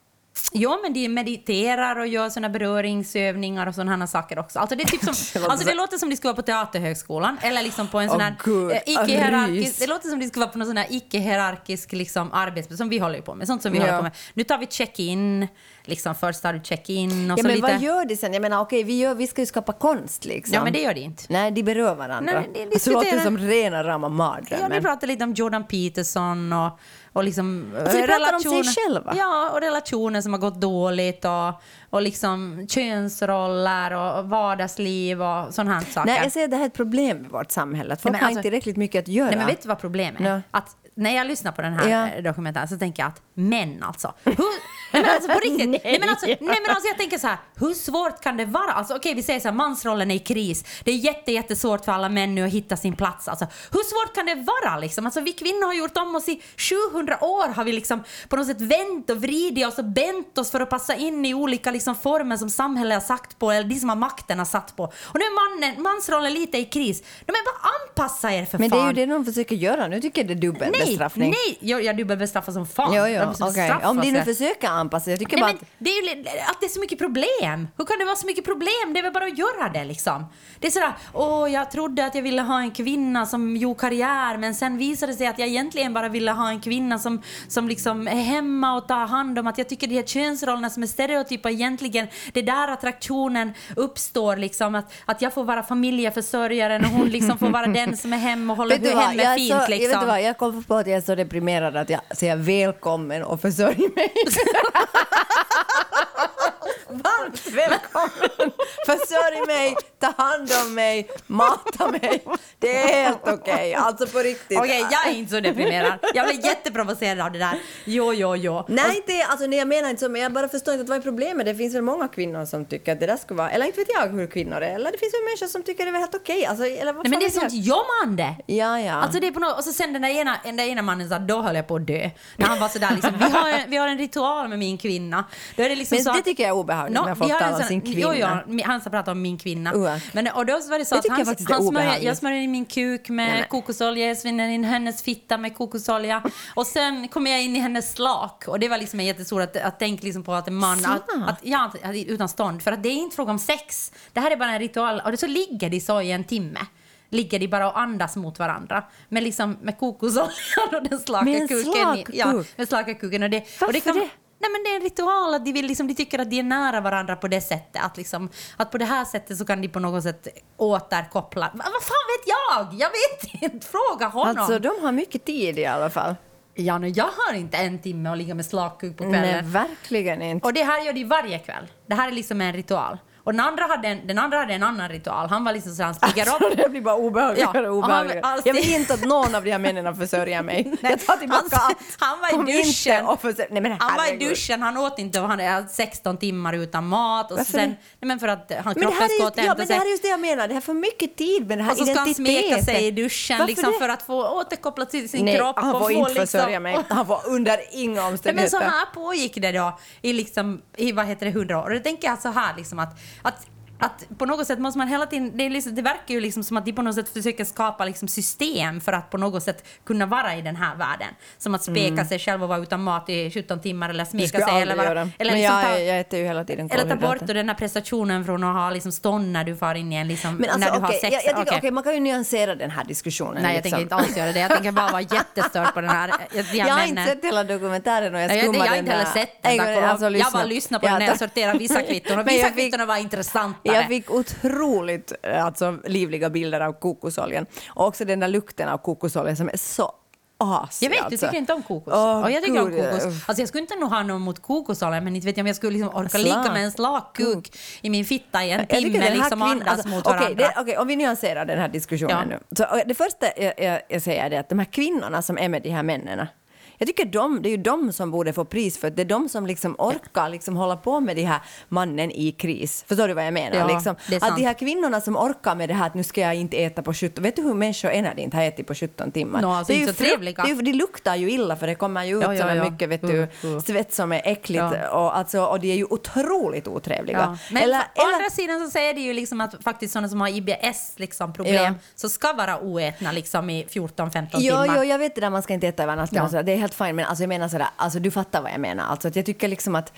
[SPEAKER 2] Ja, men de mediterar och gör såna beröringsövningar och sådana saker också. Alltså det, är typ som,
[SPEAKER 3] låter
[SPEAKER 2] alltså det
[SPEAKER 3] så-
[SPEAKER 2] låter som de skulle vara på Teaterhögskolan eller liksom på en
[SPEAKER 3] Åh,
[SPEAKER 2] sån här
[SPEAKER 3] gud,
[SPEAKER 2] eh,
[SPEAKER 3] rys.
[SPEAKER 2] icke-hierarkisk... Det låter som de skulle vara på någon sån här icke-hierarkisk liksom, arbetsplats som vi håller ju på med. Sånt som vi
[SPEAKER 3] Ja.
[SPEAKER 2] håller på med. Nu tar vi check-in, liksom först tar du check-in och
[SPEAKER 3] Ja,
[SPEAKER 2] så
[SPEAKER 3] men
[SPEAKER 2] lite...
[SPEAKER 3] vad gör de sen? Jag menar, okej, vi, gör, vi ska ju skapa konst liksom.
[SPEAKER 2] Ja, men det gör de inte.
[SPEAKER 3] Nej, de berör varandra.
[SPEAKER 2] Nej, de
[SPEAKER 3] Alltså, det låter
[SPEAKER 2] diskuterar-
[SPEAKER 3] som rena rama
[SPEAKER 2] Ja,
[SPEAKER 3] mardrömmen.
[SPEAKER 2] vi pratar lite om Jordan Peterson och, och liksom
[SPEAKER 3] Alltså, vi
[SPEAKER 2] eh,
[SPEAKER 3] pratar om sig själva.
[SPEAKER 2] Ja, och relationer som har gått dåligt och, och liksom könsroller och och vardagsliv och sådana här saker.
[SPEAKER 3] Nej, jag säger att det här är ett problem i vårt samhälle. Att folk
[SPEAKER 2] men
[SPEAKER 3] har
[SPEAKER 2] alltså-
[SPEAKER 3] inte tillräckligt mycket att göra.
[SPEAKER 2] Nej, men vet du vad problemet är?
[SPEAKER 3] Ja.
[SPEAKER 2] Att när jag lyssnar på den här
[SPEAKER 3] Ja.
[SPEAKER 2] eh, dokumentären så tänker jag att män alltså. Hur, nej men alltså på riktigt. nej, men alltså, nej men alltså jag tänker så här, hur svårt kan det vara? Alltså okej vi säger så här, mansrollen är i kris. Det är jätte, jättesvårt för alla män nu att hitta sin plats. Alltså, hur svårt kan det vara liksom? Alltså vi kvinnor har gjort om oss i 700 år har vi liksom på något sätt vänt och vridit oss och bänt oss för att passa in i olika liksom, former som samhället har sagt på eller de som har makten har satt på. Och nu är mannen, mansrollen lite i kris. De är bara anpassa er för
[SPEAKER 3] Men det
[SPEAKER 2] fan.
[SPEAKER 3] är ju det de försöker göra. Nu tycker jag det är dubbelbestraffning.
[SPEAKER 2] Nej, nej! Jag, jag dubbelbestraffar som fan.
[SPEAKER 3] Jo,
[SPEAKER 2] Jag
[SPEAKER 3] jo,
[SPEAKER 2] måste
[SPEAKER 3] okej.
[SPEAKER 2] bestraffa
[SPEAKER 3] Om de nu
[SPEAKER 2] sig.
[SPEAKER 3] försöker anpassa Jag tycker
[SPEAKER 2] Nej,
[SPEAKER 3] bara
[SPEAKER 2] men
[SPEAKER 3] att
[SPEAKER 2] det är ju li- att det är så mycket problem. Hur kan det vara så mycket problem? Det är väl bara att göra det liksom. Det är sådär, åh jag trodde att jag ville ha en kvinna som gjorde karriär men sen visade det sig att jag egentligen bara ville ha en kvinna som, som liksom är hemma och tar hand om att jag tycker de här könsrollerna som är stereotypa egentligen, det är där attraktionen uppstår liksom att, att jag får vara familjeförsörjaren och hon liksom får vara den som är hemma och
[SPEAKER 3] Vet du
[SPEAKER 2] håller
[SPEAKER 3] vad,
[SPEAKER 2] hemmet
[SPEAKER 3] jag är
[SPEAKER 2] fint
[SPEAKER 3] så,
[SPEAKER 2] liksom.
[SPEAKER 3] Jag, vet du vad, jag kom på att jag är så deprimerad att jag säger välkommen och försörj mig. Varmt välkommen! Försörj mig, ta hand om mig, mata mig. Det är helt okej. Alltså på riktigt.
[SPEAKER 2] Okej, jag är inte så deprimerad. Jag blev jätteprovocerad av det där. Jo, jo, jo.
[SPEAKER 3] Nej, inte, alltså, nej, jag menar inte så, men jag bara förstår inte att vad är problemet? Det finns väl många kvinnor som tycker att det där skulle vara, eller inte vet jag hur kvinnor är, eller det finns väl människor som tycker det är helt okej. Alltså, eller vad
[SPEAKER 2] Nej, men
[SPEAKER 3] fan
[SPEAKER 2] det är
[SPEAKER 3] vet jag?
[SPEAKER 2] sånt jommande.
[SPEAKER 3] Ja, ja.
[SPEAKER 2] Alltså det är på något, och så sen den där ena, den där ena mannen sa då höll jag på att dö. När han var sådär liksom, vi har, en, vi har en ritual med min kvinna. Då är det liksom
[SPEAKER 3] Men
[SPEAKER 2] så
[SPEAKER 3] det
[SPEAKER 2] att-
[SPEAKER 3] tycker jag är obehagligt
[SPEAKER 2] Nå,
[SPEAKER 3] när
[SPEAKER 2] vi
[SPEAKER 3] folk
[SPEAKER 2] har en
[SPEAKER 3] talar om
[SPEAKER 2] sån-
[SPEAKER 3] sin kvinna.
[SPEAKER 2] Jo, jo, mi- han ska prata om min kvinna.
[SPEAKER 3] Uah.
[SPEAKER 2] Men, och då var det så
[SPEAKER 3] Det
[SPEAKER 2] att
[SPEAKER 3] tycker jag
[SPEAKER 2] han,
[SPEAKER 3] faktiskt är
[SPEAKER 2] han smörjer,
[SPEAKER 3] obehagligt.
[SPEAKER 2] jag smörjer in min kuk med kokosolja, jag svinner in hennes fitta med kokosolja och sen kommer jag in i hennes slak. Och det var liksom en jättestor att, att tänka liksom på att en man,
[SPEAKER 3] Slak?
[SPEAKER 2] att, att, ja, att- att, utan stånd, för att det är inte fråga om sex. Det här är bara en ritual och det så ligger de så i en timme. Ligger de bara och andas mot varandra med, liksom, med kokosoljan och den slaka
[SPEAKER 3] Med en
[SPEAKER 2] kuken. i- Ja,
[SPEAKER 3] slakkuk?
[SPEAKER 2] med slaka kuken. Och det, och
[SPEAKER 3] Varför
[SPEAKER 2] det, kan,
[SPEAKER 3] det?
[SPEAKER 2] Nej, men det är en ritual att de, vill, liksom, de tycker att de är nära varandra på det sättet. Att, liksom, att på det här sättet så kan de på något sätt återkoppla. Va, vad fan vet jag? Jag vet inte. Fråga honom.
[SPEAKER 3] Alltså de har mycket tid i alla fall.
[SPEAKER 2] ja, nu, jag har inte en timme att ligga med slakkuk på kvällen.
[SPEAKER 3] Nej, verkligen inte.
[SPEAKER 2] Och det här gör de varje kväll. Det här är liksom en ritual. Och den andra hade en, den andra hade en annan ritual. Han var liksom så han spiggar upp.
[SPEAKER 3] Alltså, Det blir bara obehagligare
[SPEAKER 2] Ja,
[SPEAKER 3] och
[SPEAKER 2] och han-
[SPEAKER 3] obehagligare.
[SPEAKER 2] alltså-
[SPEAKER 3] jag vill inte att någon av de här männen försörjer mig. Jag tar tillbaka
[SPEAKER 2] han,
[SPEAKER 3] allt.
[SPEAKER 2] han var i
[SPEAKER 3] Kom inte
[SPEAKER 2] duschen.
[SPEAKER 3] och försörj- Nej, men
[SPEAKER 2] han var i
[SPEAKER 3] herregud.
[SPEAKER 2] duschen, han åt inte och han är 16 timmar utan mat. Och så
[SPEAKER 3] Varför
[SPEAKER 2] sen,
[SPEAKER 3] det?
[SPEAKER 2] nej men för att eh, han
[SPEAKER 3] Men det,
[SPEAKER 2] kroppen
[SPEAKER 3] här
[SPEAKER 2] ska
[SPEAKER 3] är just, ja,
[SPEAKER 2] återhämta
[SPEAKER 3] men det
[SPEAKER 2] sig.
[SPEAKER 3] här är just det jag menar, det här får mycket tid med den här
[SPEAKER 2] Och så Alltså, ska han smeka sig i
[SPEAKER 3] identiteten.
[SPEAKER 2] duschen
[SPEAKER 3] Varför
[SPEAKER 2] liksom,
[SPEAKER 3] det?
[SPEAKER 2] för att få återkoppla till sin
[SPEAKER 3] Nej,
[SPEAKER 2] kropp.
[SPEAKER 3] han
[SPEAKER 2] och
[SPEAKER 3] får
[SPEAKER 2] få
[SPEAKER 3] inte
[SPEAKER 2] liksom-
[SPEAKER 3] försörja mig. Han får under inga
[SPEAKER 2] Nej, men
[SPEAKER 3] omständigheter.
[SPEAKER 2] så här pågick det då i, liksom, i vad heter det, 100 år. Och då tänker jag så här liksom att, att att på något sätt måste man hela tiden, det, är liksom, det verkar ju liksom som att de på något sätt försöker skapa liksom system för att på något sätt kunna vara i den här världen. Som att speka sig själv och vara utan mat i 17 timmar eller
[SPEAKER 3] Mm. Det
[SPEAKER 2] smeka
[SPEAKER 3] skulle jag
[SPEAKER 2] sig. Eller,
[SPEAKER 3] aldrig
[SPEAKER 2] vara,
[SPEAKER 3] göra.
[SPEAKER 2] eller,
[SPEAKER 3] men
[SPEAKER 2] liksom
[SPEAKER 3] jag,
[SPEAKER 2] ta,
[SPEAKER 3] jag äter ju hela tiden
[SPEAKER 2] eller ta bort
[SPEAKER 3] kolhydrater.
[SPEAKER 2] den här prestationen från att ha liksom stånd när du far in i en, liksom,
[SPEAKER 3] Men alltså,
[SPEAKER 2] när du
[SPEAKER 3] okej,
[SPEAKER 2] har sex.
[SPEAKER 3] jag, jag tycker,
[SPEAKER 2] Okej.
[SPEAKER 3] okej, man kan ju nyansera den här
[SPEAKER 2] Nej,
[SPEAKER 3] diskussionen.
[SPEAKER 2] jag
[SPEAKER 3] liksom.
[SPEAKER 2] tänker inte alls göra det. Jag tänker bara vara jättestörd på den här. eh, Jag,
[SPEAKER 3] Jag har inte sett hela dokumentären och jag
[SPEAKER 2] Nej, jag,
[SPEAKER 3] skummade
[SPEAKER 2] jag har
[SPEAKER 3] den
[SPEAKER 2] inte heller
[SPEAKER 3] där.
[SPEAKER 2] sett den.
[SPEAKER 3] En gång,
[SPEAKER 2] tack och lov.
[SPEAKER 3] alltså,
[SPEAKER 2] jag bara lyssnade på
[SPEAKER 3] Ja,
[SPEAKER 2] den när jag
[SPEAKER 3] tack.
[SPEAKER 2] sorterade vissa kvitton och
[SPEAKER 3] Men
[SPEAKER 2] vissa
[SPEAKER 3] jag fick-
[SPEAKER 2] kvitton var intressantare.
[SPEAKER 3] Jag fick otroligt eh, alltså, livliga bilder av kokosoljan. Och också den där lukten av kokosolja som är så asig.
[SPEAKER 2] Jag vet,
[SPEAKER 3] alltså.
[SPEAKER 2] du tycker inte om kokos.
[SPEAKER 3] Åh,
[SPEAKER 2] och jag tycker
[SPEAKER 3] gud,
[SPEAKER 2] om kokos.
[SPEAKER 3] uff.
[SPEAKER 2] Alltså, jag skulle inte nog ha något mot kokosolja, men inte vet jag om jag skulle liksom orka ligga med en slak kuk i min fitta i en
[SPEAKER 3] Mm. Jag tycker
[SPEAKER 2] timme
[SPEAKER 3] den här
[SPEAKER 2] liksom, och
[SPEAKER 3] kvinnan-
[SPEAKER 2] andas
[SPEAKER 3] alltså,
[SPEAKER 2] mot
[SPEAKER 3] okej,
[SPEAKER 2] varandra.
[SPEAKER 3] det- Okej, om vi nyanserar den här diskussionen
[SPEAKER 2] Ja.
[SPEAKER 3] nu. Så, och det första jag, jag, jag säger är det att de här kvinnorna som är med de här männen jag tycker de, det är ju de som borde få pris för att det är de som liksom orkar liksom hålla på med de här mannen i kris. Förstår du vad jag menar?
[SPEAKER 2] Ja,
[SPEAKER 3] liksom,
[SPEAKER 2] det är sant.
[SPEAKER 3] att de här kvinnorna som orkar med det här att nu ska jag inte äta på 17... Vet du hur människor är när de inte har ätit på 17 timmar?
[SPEAKER 2] Nå, alltså
[SPEAKER 3] det är
[SPEAKER 2] inte
[SPEAKER 3] ju
[SPEAKER 2] så
[SPEAKER 3] frukt-
[SPEAKER 2] trevliga.
[SPEAKER 3] Det, är ju- det luktar ju illa för det kommer ju ut
[SPEAKER 2] Ja, ja,
[SPEAKER 3] som
[SPEAKER 2] ja.
[SPEAKER 3] en mycket vet
[SPEAKER 2] Uh,
[SPEAKER 3] du,
[SPEAKER 2] uh.
[SPEAKER 3] svett som är äckligt
[SPEAKER 2] Ja.
[SPEAKER 3] och, alltså, och de är ju otroligt otrevliga.
[SPEAKER 2] Ja. Men
[SPEAKER 3] Eller-
[SPEAKER 2] å
[SPEAKER 3] eller-
[SPEAKER 2] andra sidan så säger det ju liksom att faktiskt sådana som har IBS liksom problem
[SPEAKER 3] Ja.
[SPEAKER 2] så ska vara oätna liksom i 14-15
[SPEAKER 3] Ja,
[SPEAKER 2] timmar.
[SPEAKER 3] ja, jag vet det där man ska inte äta över natten.
[SPEAKER 2] Ja.
[SPEAKER 3] och sådär. Det är helt fint, men alltså, jag menar sådär, alltså, du fattar vad jag menar. Alltså, att jag tycker liksom att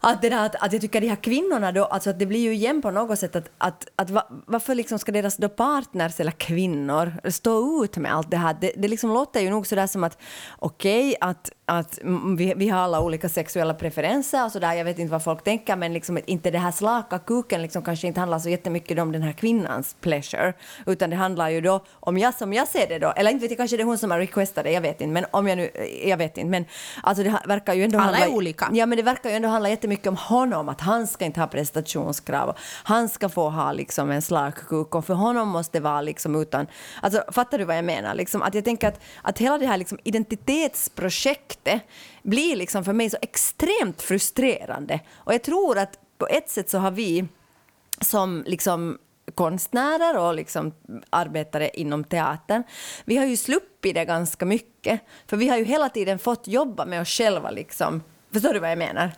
[SPEAKER 3] att, det där, att, att jag tycker de här kvinnorna då, alltså att det blir ju igen på något sätt att, att, att va, varför liksom ska deras då partners eller kvinnor stå ut med allt det här? Det, det liksom låter ju nog sådär som att okej att, att mm, vi, vi har alla olika sexuella preferenser och sådär, jag vet inte vad folk tänker men liksom att inte det här slaka kuken liksom kanske inte handlar så jättemycket om den här kvinnans pleasure utan det handlar ju då om jag som jag ser det då, eller inte vet jag, kanske det är hon som har requestat det, jag vet inte men om jag nu, jag vet inte men alltså det ha- verkar ju ändå
[SPEAKER 2] Alla är
[SPEAKER 3] handla,
[SPEAKER 2] olika.
[SPEAKER 3] Ja, men det verkar ju ändå handla jättemycket om honom, att han ska inte ha prestationskrav. Han ska få ha liksom en slagkuk och för honom måste det vara liksom utan... Alltså, fattar du vad jag menar? Liksom, att jag tänker att, att hela det här liksom identitetsprojektet blir liksom för mig så extremt frustrerande. Och jag tror att på ett sätt så har vi som liksom konstnärer och liksom arbetare inom teatern. Vi har ju sluppit det ganska mycket, för vi har ju hela tiden fått jobba med oss själva. Liksom. Förstår du vad jag menar?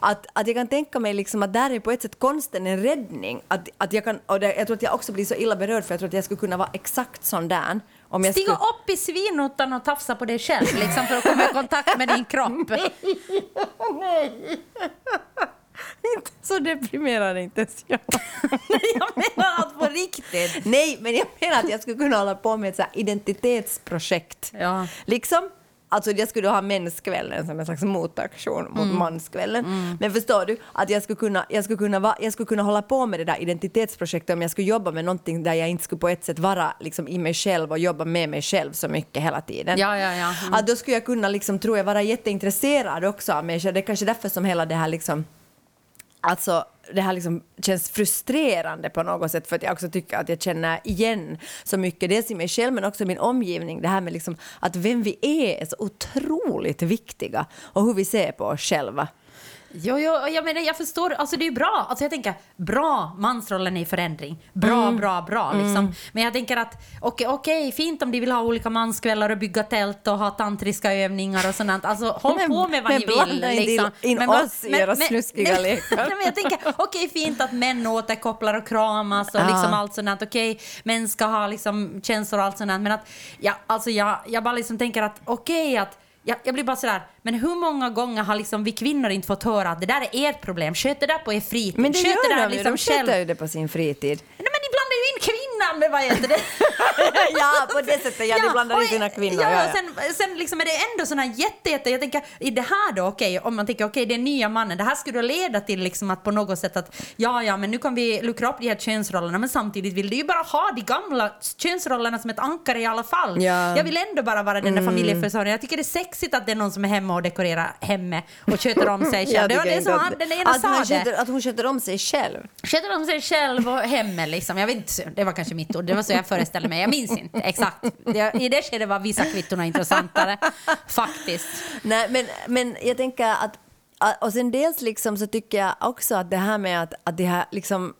[SPEAKER 3] Att, att jag kan tänka mig liksom att där är på ett sätt konsten en räddning. Att, att jag, kan, och det, jag tror att jag också blir så illa berörd för jag tror att jag skulle kunna vara exakt sån där. Om jag
[SPEAKER 2] Stiga
[SPEAKER 3] skulle...
[SPEAKER 2] upp i svinnotan och tafsa på dig själv liksom, för att komma i kontakt med din kropp.
[SPEAKER 3] Inte så deprimerad inte ens jag.
[SPEAKER 2] Jag menar allt på riktigt.
[SPEAKER 3] Nej, men jag menar att jag skulle kunna hålla på med ett så här identitetsprojekt.
[SPEAKER 2] Ja.
[SPEAKER 3] Liksom, alltså jag skulle ha menskvällen som en slags motaktion mot manskvällen. Men förstår du, att jag skulle, kunna, jag, skulle kunna va, jag skulle kunna hålla på med det där identitetsprojektet om jag skulle jobba med någonting där jag inte skulle på ett sätt vara liksom, i mig själv och jobba med mig själv så mycket hela tiden.
[SPEAKER 2] Ja, ja, ja. Mm.
[SPEAKER 3] Att då skulle jag kunna, liksom, tror jag, vara jätteintresserad också av mig själv. Det är kanske därför som hela det här liksom, Alltså det här liksom känns frustrerande på något sätt för att jag också tycker att jag känner igen så mycket, dels i mig själv men också i min omgivning, det här med liksom att vem vi är är så otroligt viktiga och hur vi ser på oss själva.
[SPEAKER 2] Jo, jo, och jag menar, jag förstår. Alltså det är ju bra. Alltså jag tänker, bra, mansrollen är i förändring. Bra,
[SPEAKER 3] Mm.
[SPEAKER 2] bra, bra. Liksom. Men jag tänker att, okej, okej, fint om de vill ha olika manskvällar och bygga tält och ha tantriska övningar och sånt. Alltså håll
[SPEAKER 3] Men-
[SPEAKER 2] på med vad
[SPEAKER 3] men
[SPEAKER 2] ni vill. liksom.
[SPEAKER 3] blanda inte in- in
[SPEAKER 2] vad-
[SPEAKER 3] oss i era snuskiga
[SPEAKER 2] nej,
[SPEAKER 3] lekar.
[SPEAKER 2] nej, men jag tänker, okej, fint att män återkopplar och kramas och
[SPEAKER 3] Ja.
[SPEAKER 2] liksom allt sånt. Okej, män ska ha liksom känslor och allt sånt. Men att, ja, alltså jag, jag bara liksom tänker att, okej, att jag, jag blir bara sådär, men hur många gånger har liksom vi kvinnor inte fått höra att det där är ert problem, sköt det där på er fritid,
[SPEAKER 3] Men det
[SPEAKER 2] sköt det
[SPEAKER 3] gör
[SPEAKER 2] där liksom
[SPEAKER 3] de ju, de
[SPEAKER 2] själv.
[SPEAKER 3] sköter ju det på sin fritid.
[SPEAKER 2] Nej men ni blandar ju in kvinnan med vad heter det?
[SPEAKER 3] ja, på det sättet, ja, de blandar
[SPEAKER 2] och-
[SPEAKER 3] in sina kvinnor.
[SPEAKER 2] Ja,
[SPEAKER 3] ja, ja.
[SPEAKER 2] och Sen, sen liksom är det ändå sådana här jätte, jätte, jag tänker i det här då, okej, om man tänker okej, det är nya mannen, det här skulle då leda till liksom att på något sätt att ja, ja, men nu kan vi luckra upp de här könsrollerna, men samtidigt vill du ju bara ha de gamla könsrollerna som ett ankare i alla fall.
[SPEAKER 3] Ja. Mm.
[SPEAKER 2] Jag vill ändå bara vara den där familjeförsörjaren. Jag tycker det är sexigt att det är någon som är hemma och dekorerar hemmet och sköter om sig själv.
[SPEAKER 3] Jag
[SPEAKER 2] det var
[SPEAKER 3] tycker
[SPEAKER 2] det
[SPEAKER 3] inte
[SPEAKER 2] som
[SPEAKER 3] att-
[SPEAKER 2] han, den ena
[SPEAKER 3] att, hon
[SPEAKER 2] sa det.
[SPEAKER 3] sköter, att hon sköter om sig själv.
[SPEAKER 2] Sköter om sig själv och hemmet liksom. Jag vet inte, det var kanske mitt ord, det var så jag föreställde mig. Jag minns inte exakt. Det, I det skedet var vissa kvitton intressantare, faktiskt.
[SPEAKER 3] Nej, men, men jag tänker att Ah, Och sen dels liksom så tycker jag också att det här med att, att de här liksom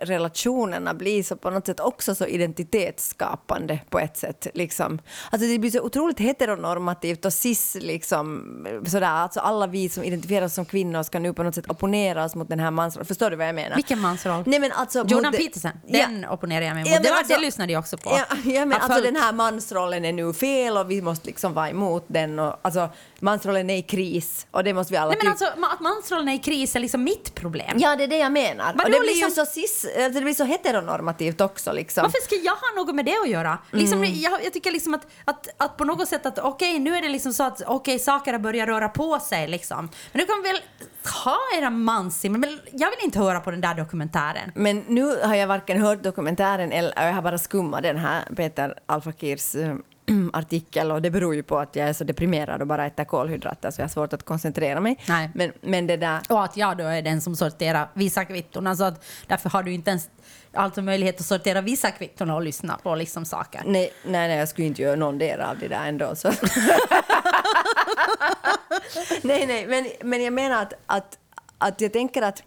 [SPEAKER 3] parrelationerna blir så på något sätt också så identitetsskapande på ett sätt. Liksom. Alltså det blir så otroligt heteronormativt och cis liksom eh, sådär. Alltså alla vi som identifierar oss som kvinnor ska nu på något sätt opponera oss mot den här mansrollen. Förstår du vad jag menar?
[SPEAKER 2] Vilken mansroll?
[SPEAKER 3] Nej men alltså... mot
[SPEAKER 2] Jordan
[SPEAKER 3] det-
[SPEAKER 2] Peterson,
[SPEAKER 3] Ja.
[SPEAKER 2] den opponerar jag mig mot.
[SPEAKER 3] Ja, men
[SPEAKER 2] det, var,
[SPEAKER 3] alltså-
[SPEAKER 2] det lyssnade jag också på.
[SPEAKER 3] Ja, ja men
[SPEAKER 2] Att
[SPEAKER 3] alltså
[SPEAKER 2] folk-
[SPEAKER 3] den här mansrollen är nu fel och vi måste liksom vara emot den och alltså mansrollen är i kris och det måste vi alla
[SPEAKER 2] Nej men
[SPEAKER 3] typ-
[SPEAKER 2] alltså ma- att mansrollen är i kris är liksom mitt problem.
[SPEAKER 3] Ja, det är det jag menar.
[SPEAKER 2] Vadå,
[SPEAKER 3] och det blir ju
[SPEAKER 2] liksom-
[SPEAKER 3] så, cis, alltså, det blir så heteronormativt också. Liksom.
[SPEAKER 2] Varför ska jag ha något med det att göra? Liksom,
[SPEAKER 3] Mm.
[SPEAKER 2] jag, jag tycker liksom att, att, att på något sätt att okej nu är det liksom så att okej saker börjar röra på sig liksom. Men du kan väl ha era manssim, men jag vill inte höra på den där dokumentären.
[SPEAKER 3] Men nu har jag varken hört dokumentären eller jag har bara skummat den här Peter Alfakirs eh, artikel och det beror ju på att jag är så deprimerad och bara äter kolhydrater så jag har svårt att koncentrera mig.
[SPEAKER 2] Nej.
[SPEAKER 3] Men, men det där...
[SPEAKER 2] Och att jag då är den som sorterar vissa kvitton. Alltså att därför har du inte ens alltså möjlighet att sortera vissa kvitton och lyssna på liksom saker.
[SPEAKER 3] Nej, nej, nej, jag skulle inte göra någon del av det där ändå. Så. nej, nej, men, men jag menar att, att, att jag tänker att,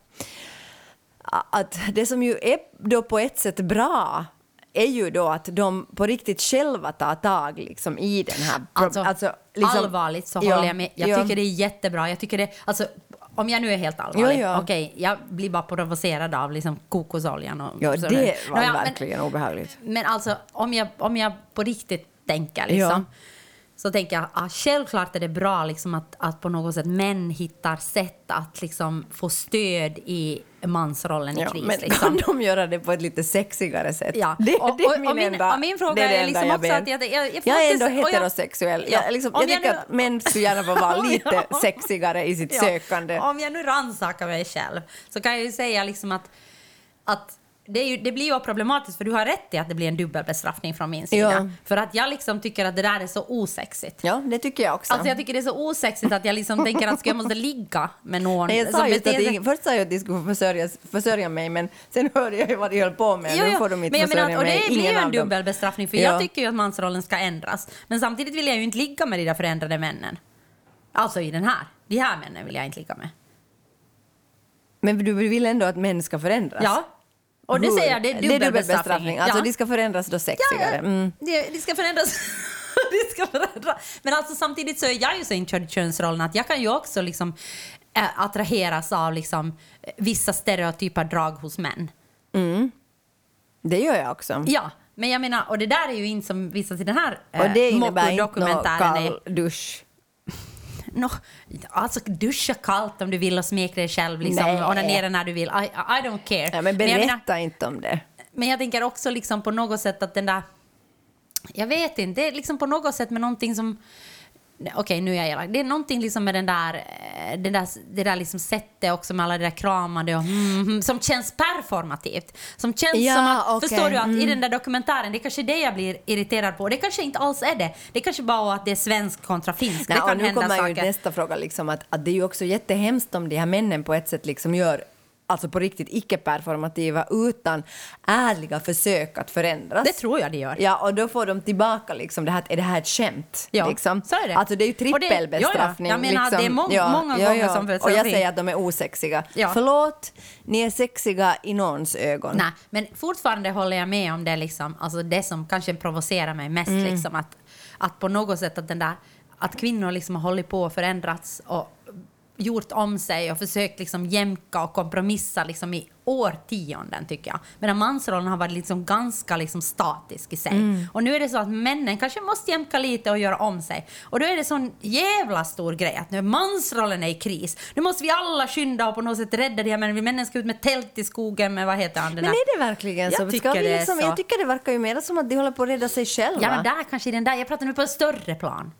[SPEAKER 3] att det som ju är då på ett sätt bra är ju då att de på riktigt själva tar tag liksom, i den här... pro-
[SPEAKER 2] Alltså,
[SPEAKER 3] liksom-
[SPEAKER 2] allvarligt så
[SPEAKER 3] Ja,
[SPEAKER 2] håller jag med. Jag
[SPEAKER 3] ja.
[SPEAKER 2] tycker det är jättebra. Jag tycker det, alltså, om jag nu är helt allvarlig,
[SPEAKER 3] Jo, ja.
[SPEAKER 2] okej, jag blir bara provocerad av liksom, kokosoljan. Och,
[SPEAKER 3] Ja,
[SPEAKER 2] så-
[SPEAKER 3] det var
[SPEAKER 2] Nåja,
[SPEAKER 3] verkligen obehagligt.
[SPEAKER 2] Men, men alltså, om jag, om jag på riktigt tänker liksom, så tänker jag ah, självklart är det bra liksom, att, att på något sätt män hittar sätt att liksom, få stöd i mansrollen i
[SPEAKER 3] Ja,
[SPEAKER 2] kris.
[SPEAKER 3] men
[SPEAKER 2] liksom.
[SPEAKER 3] kan de göra det på ett lite sexigare sätt?
[SPEAKER 2] Ja.
[SPEAKER 3] Det,
[SPEAKER 2] och,
[SPEAKER 3] det är
[SPEAKER 2] och-
[SPEAKER 3] min
[SPEAKER 2] och min,
[SPEAKER 3] enda,
[SPEAKER 2] och min fråga
[SPEAKER 3] det är det
[SPEAKER 2] är
[SPEAKER 3] enda
[SPEAKER 2] liksom
[SPEAKER 3] jag
[SPEAKER 2] också
[SPEAKER 3] ber.
[SPEAKER 2] att jag, jag, jag,
[SPEAKER 3] Jag är
[SPEAKER 2] faktiskt-
[SPEAKER 3] ändå
[SPEAKER 2] och jag-
[SPEAKER 3] heterosexuell.
[SPEAKER 2] Ja,
[SPEAKER 3] Jag, liksom,
[SPEAKER 2] om
[SPEAKER 3] jag
[SPEAKER 2] jag
[SPEAKER 3] tycker
[SPEAKER 2] nu-
[SPEAKER 3] att män skulle gärna få vara
[SPEAKER 2] Om
[SPEAKER 3] lite
[SPEAKER 2] jag-
[SPEAKER 3] sexigare i sitt
[SPEAKER 2] Ja,
[SPEAKER 3] sökande.
[SPEAKER 2] Om jag nu rannsakar mig själv så kan jag ju säga liksom att, att det, är ju, det blir ju problematiskt för du har rätt i att det blir en dubbelbestraffning från min sida.
[SPEAKER 3] Ja.
[SPEAKER 2] För att jag liksom tycker att det där är så osexigt.
[SPEAKER 3] Ja, det tycker jag också.
[SPEAKER 2] Alltså jag tycker det är så osexigt att jag liksom tänker att ska jag måste ligga med någon
[SPEAKER 3] Nej, jag
[SPEAKER 2] som
[SPEAKER 3] sa just att
[SPEAKER 2] beter sig-
[SPEAKER 3] ingen, först sa jag att de skulle försörja, försörja mig, men sen hörde jag ju vad de höll på med.
[SPEAKER 2] Jo,
[SPEAKER 3] nu
[SPEAKER 2] jo,
[SPEAKER 3] får de inte
[SPEAKER 2] men jag menar
[SPEAKER 3] försörja
[SPEAKER 2] att, och
[SPEAKER 3] mig.
[SPEAKER 2] det blir ju
[SPEAKER 3] Ingen
[SPEAKER 2] en
[SPEAKER 3] av dem.
[SPEAKER 2] dubbelbestraffning för
[SPEAKER 3] Ja.
[SPEAKER 2] jag tycker ju att mansrollen ska ändras. Men samtidigt vill jag ju inte ligga med de där förändrade männen. Alltså i den här. De här männen vill jag inte ligga med.
[SPEAKER 3] Men du vill ändå att män ska förändras?
[SPEAKER 2] Ja. Och det
[SPEAKER 3] Hur?
[SPEAKER 2] säger jag, det är dubbelbestraffning.
[SPEAKER 3] dubbelbestraffning. Alltså,
[SPEAKER 2] ja.
[SPEAKER 3] de ska förändras då sexigare. Mm.
[SPEAKER 2] det, det ska förändras. det ska förändras. Men alltså samtidigt så är jag ju så inkörd i könsrollen att jag kan ju också liksom eh, attraheras av liksom eh, vissa stereotypa drag hos män.
[SPEAKER 3] Det gör jag också.
[SPEAKER 2] Ja, men jag menar, och det där är ju inte som visas i den här eh,
[SPEAKER 3] Och det innebär inte någon
[SPEAKER 2] dokumentären är-
[SPEAKER 3] kall dusch.
[SPEAKER 2] No, alltså duscha kallt om du vill och smek dig själv liksom,
[SPEAKER 3] Nej.
[SPEAKER 2] och onanera när du vill. I, I don't care.
[SPEAKER 3] Ja, men
[SPEAKER 2] jag
[SPEAKER 3] berätta
[SPEAKER 2] menar-
[SPEAKER 3] inte om det.
[SPEAKER 2] men jag tänker också liksom på något sätt att den där... Jag vet inte, det är liksom på något sätt med någonting som... Nej, Okej, nu är jag elak. Det är någonting liksom med den där, eh, den där, det där liksom sättet också med alla det där kramande och mm, mm, som känns performativt. Som känns
[SPEAKER 3] Ja,
[SPEAKER 2] som att,
[SPEAKER 3] okej,
[SPEAKER 2] förstår du att i
[SPEAKER 3] mm.
[SPEAKER 2] den där dokumentären, det är kanske det jag blir irriterad på. Och Det kanske inte alls är det. Det är kanske bara att det är svensk kontra finsk.
[SPEAKER 3] Nej,
[SPEAKER 2] det kan
[SPEAKER 3] och nu
[SPEAKER 2] hända
[SPEAKER 3] kommer ju
[SPEAKER 2] saker.
[SPEAKER 3] nästa fråga, liksom, att, att det är ju också jättehemskt om de här männen på ett sätt liksom gör alltså på riktigt icke-performativa utan ärliga försök att förändras.
[SPEAKER 2] Det tror jag det gör.
[SPEAKER 3] Ja, och då får de tillbaka liksom det här, är det här ett skämt?
[SPEAKER 2] Ja,
[SPEAKER 3] liksom.
[SPEAKER 2] så är det.
[SPEAKER 3] Alltså det är ju
[SPEAKER 2] Och det- ja, ja.
[SPEAKER 3] trippelbestraffning.
[SPEAKER 2] Jag menar,
[SPEAKER 3] liksom.
[SPEAKER 2] det är mång- många gånger som
[SPEAKER 3] Och jag
[SPEAKER 2] försöker-
[SPEAKER 3] säger att de är osexiga.
[SPEAKER 2] Ja.
[SPEAKER 3] Förlåt, ni är sexiga i någons ögon.
[SPEAKER 2] Nej, men fortfarande håller jag med om det, liksom, alltså det som kanske provocerar mig mest. Liksom, att, att på något sätt att, den där, att kvinnor liksom har hållit på och förändrats och gjort om sig och försökt liksom jämka och kompromissa liksom i årtionden, tycker jag. Medan mansrollen har varit liksom ganska liksom statisk i sig. Och nu är det så att männen kanske måste jämka lite och göra om sig. Och då är det sån jävla stor grej att nu är mansrollen är i kris. Nu måste vi alla skynda och på något sätt rädda det här männen. Vi Männen ska ut med tält i skogen med, vad heter han, den
[SPEAKER 3] Men
[SPEAKER 2] där-
[SPEAKER 3] är det verkligen så?
[SPEAKER 2] Jag
[SPEAKER 3] Ska
[SPEAKER 2] tycker
[SPEAKER 3] vi
[SPEAKER 2] det är
[SPEAKER 3] liksom,
[SPEAKER 2] så.
[SPEAKER 3] Jag tycker det verkar ju mer som att de håller på att rädda sig själva.
[SPEAKER 2] Ja, men där kanske i den där. Jag pratar nu på en större plan.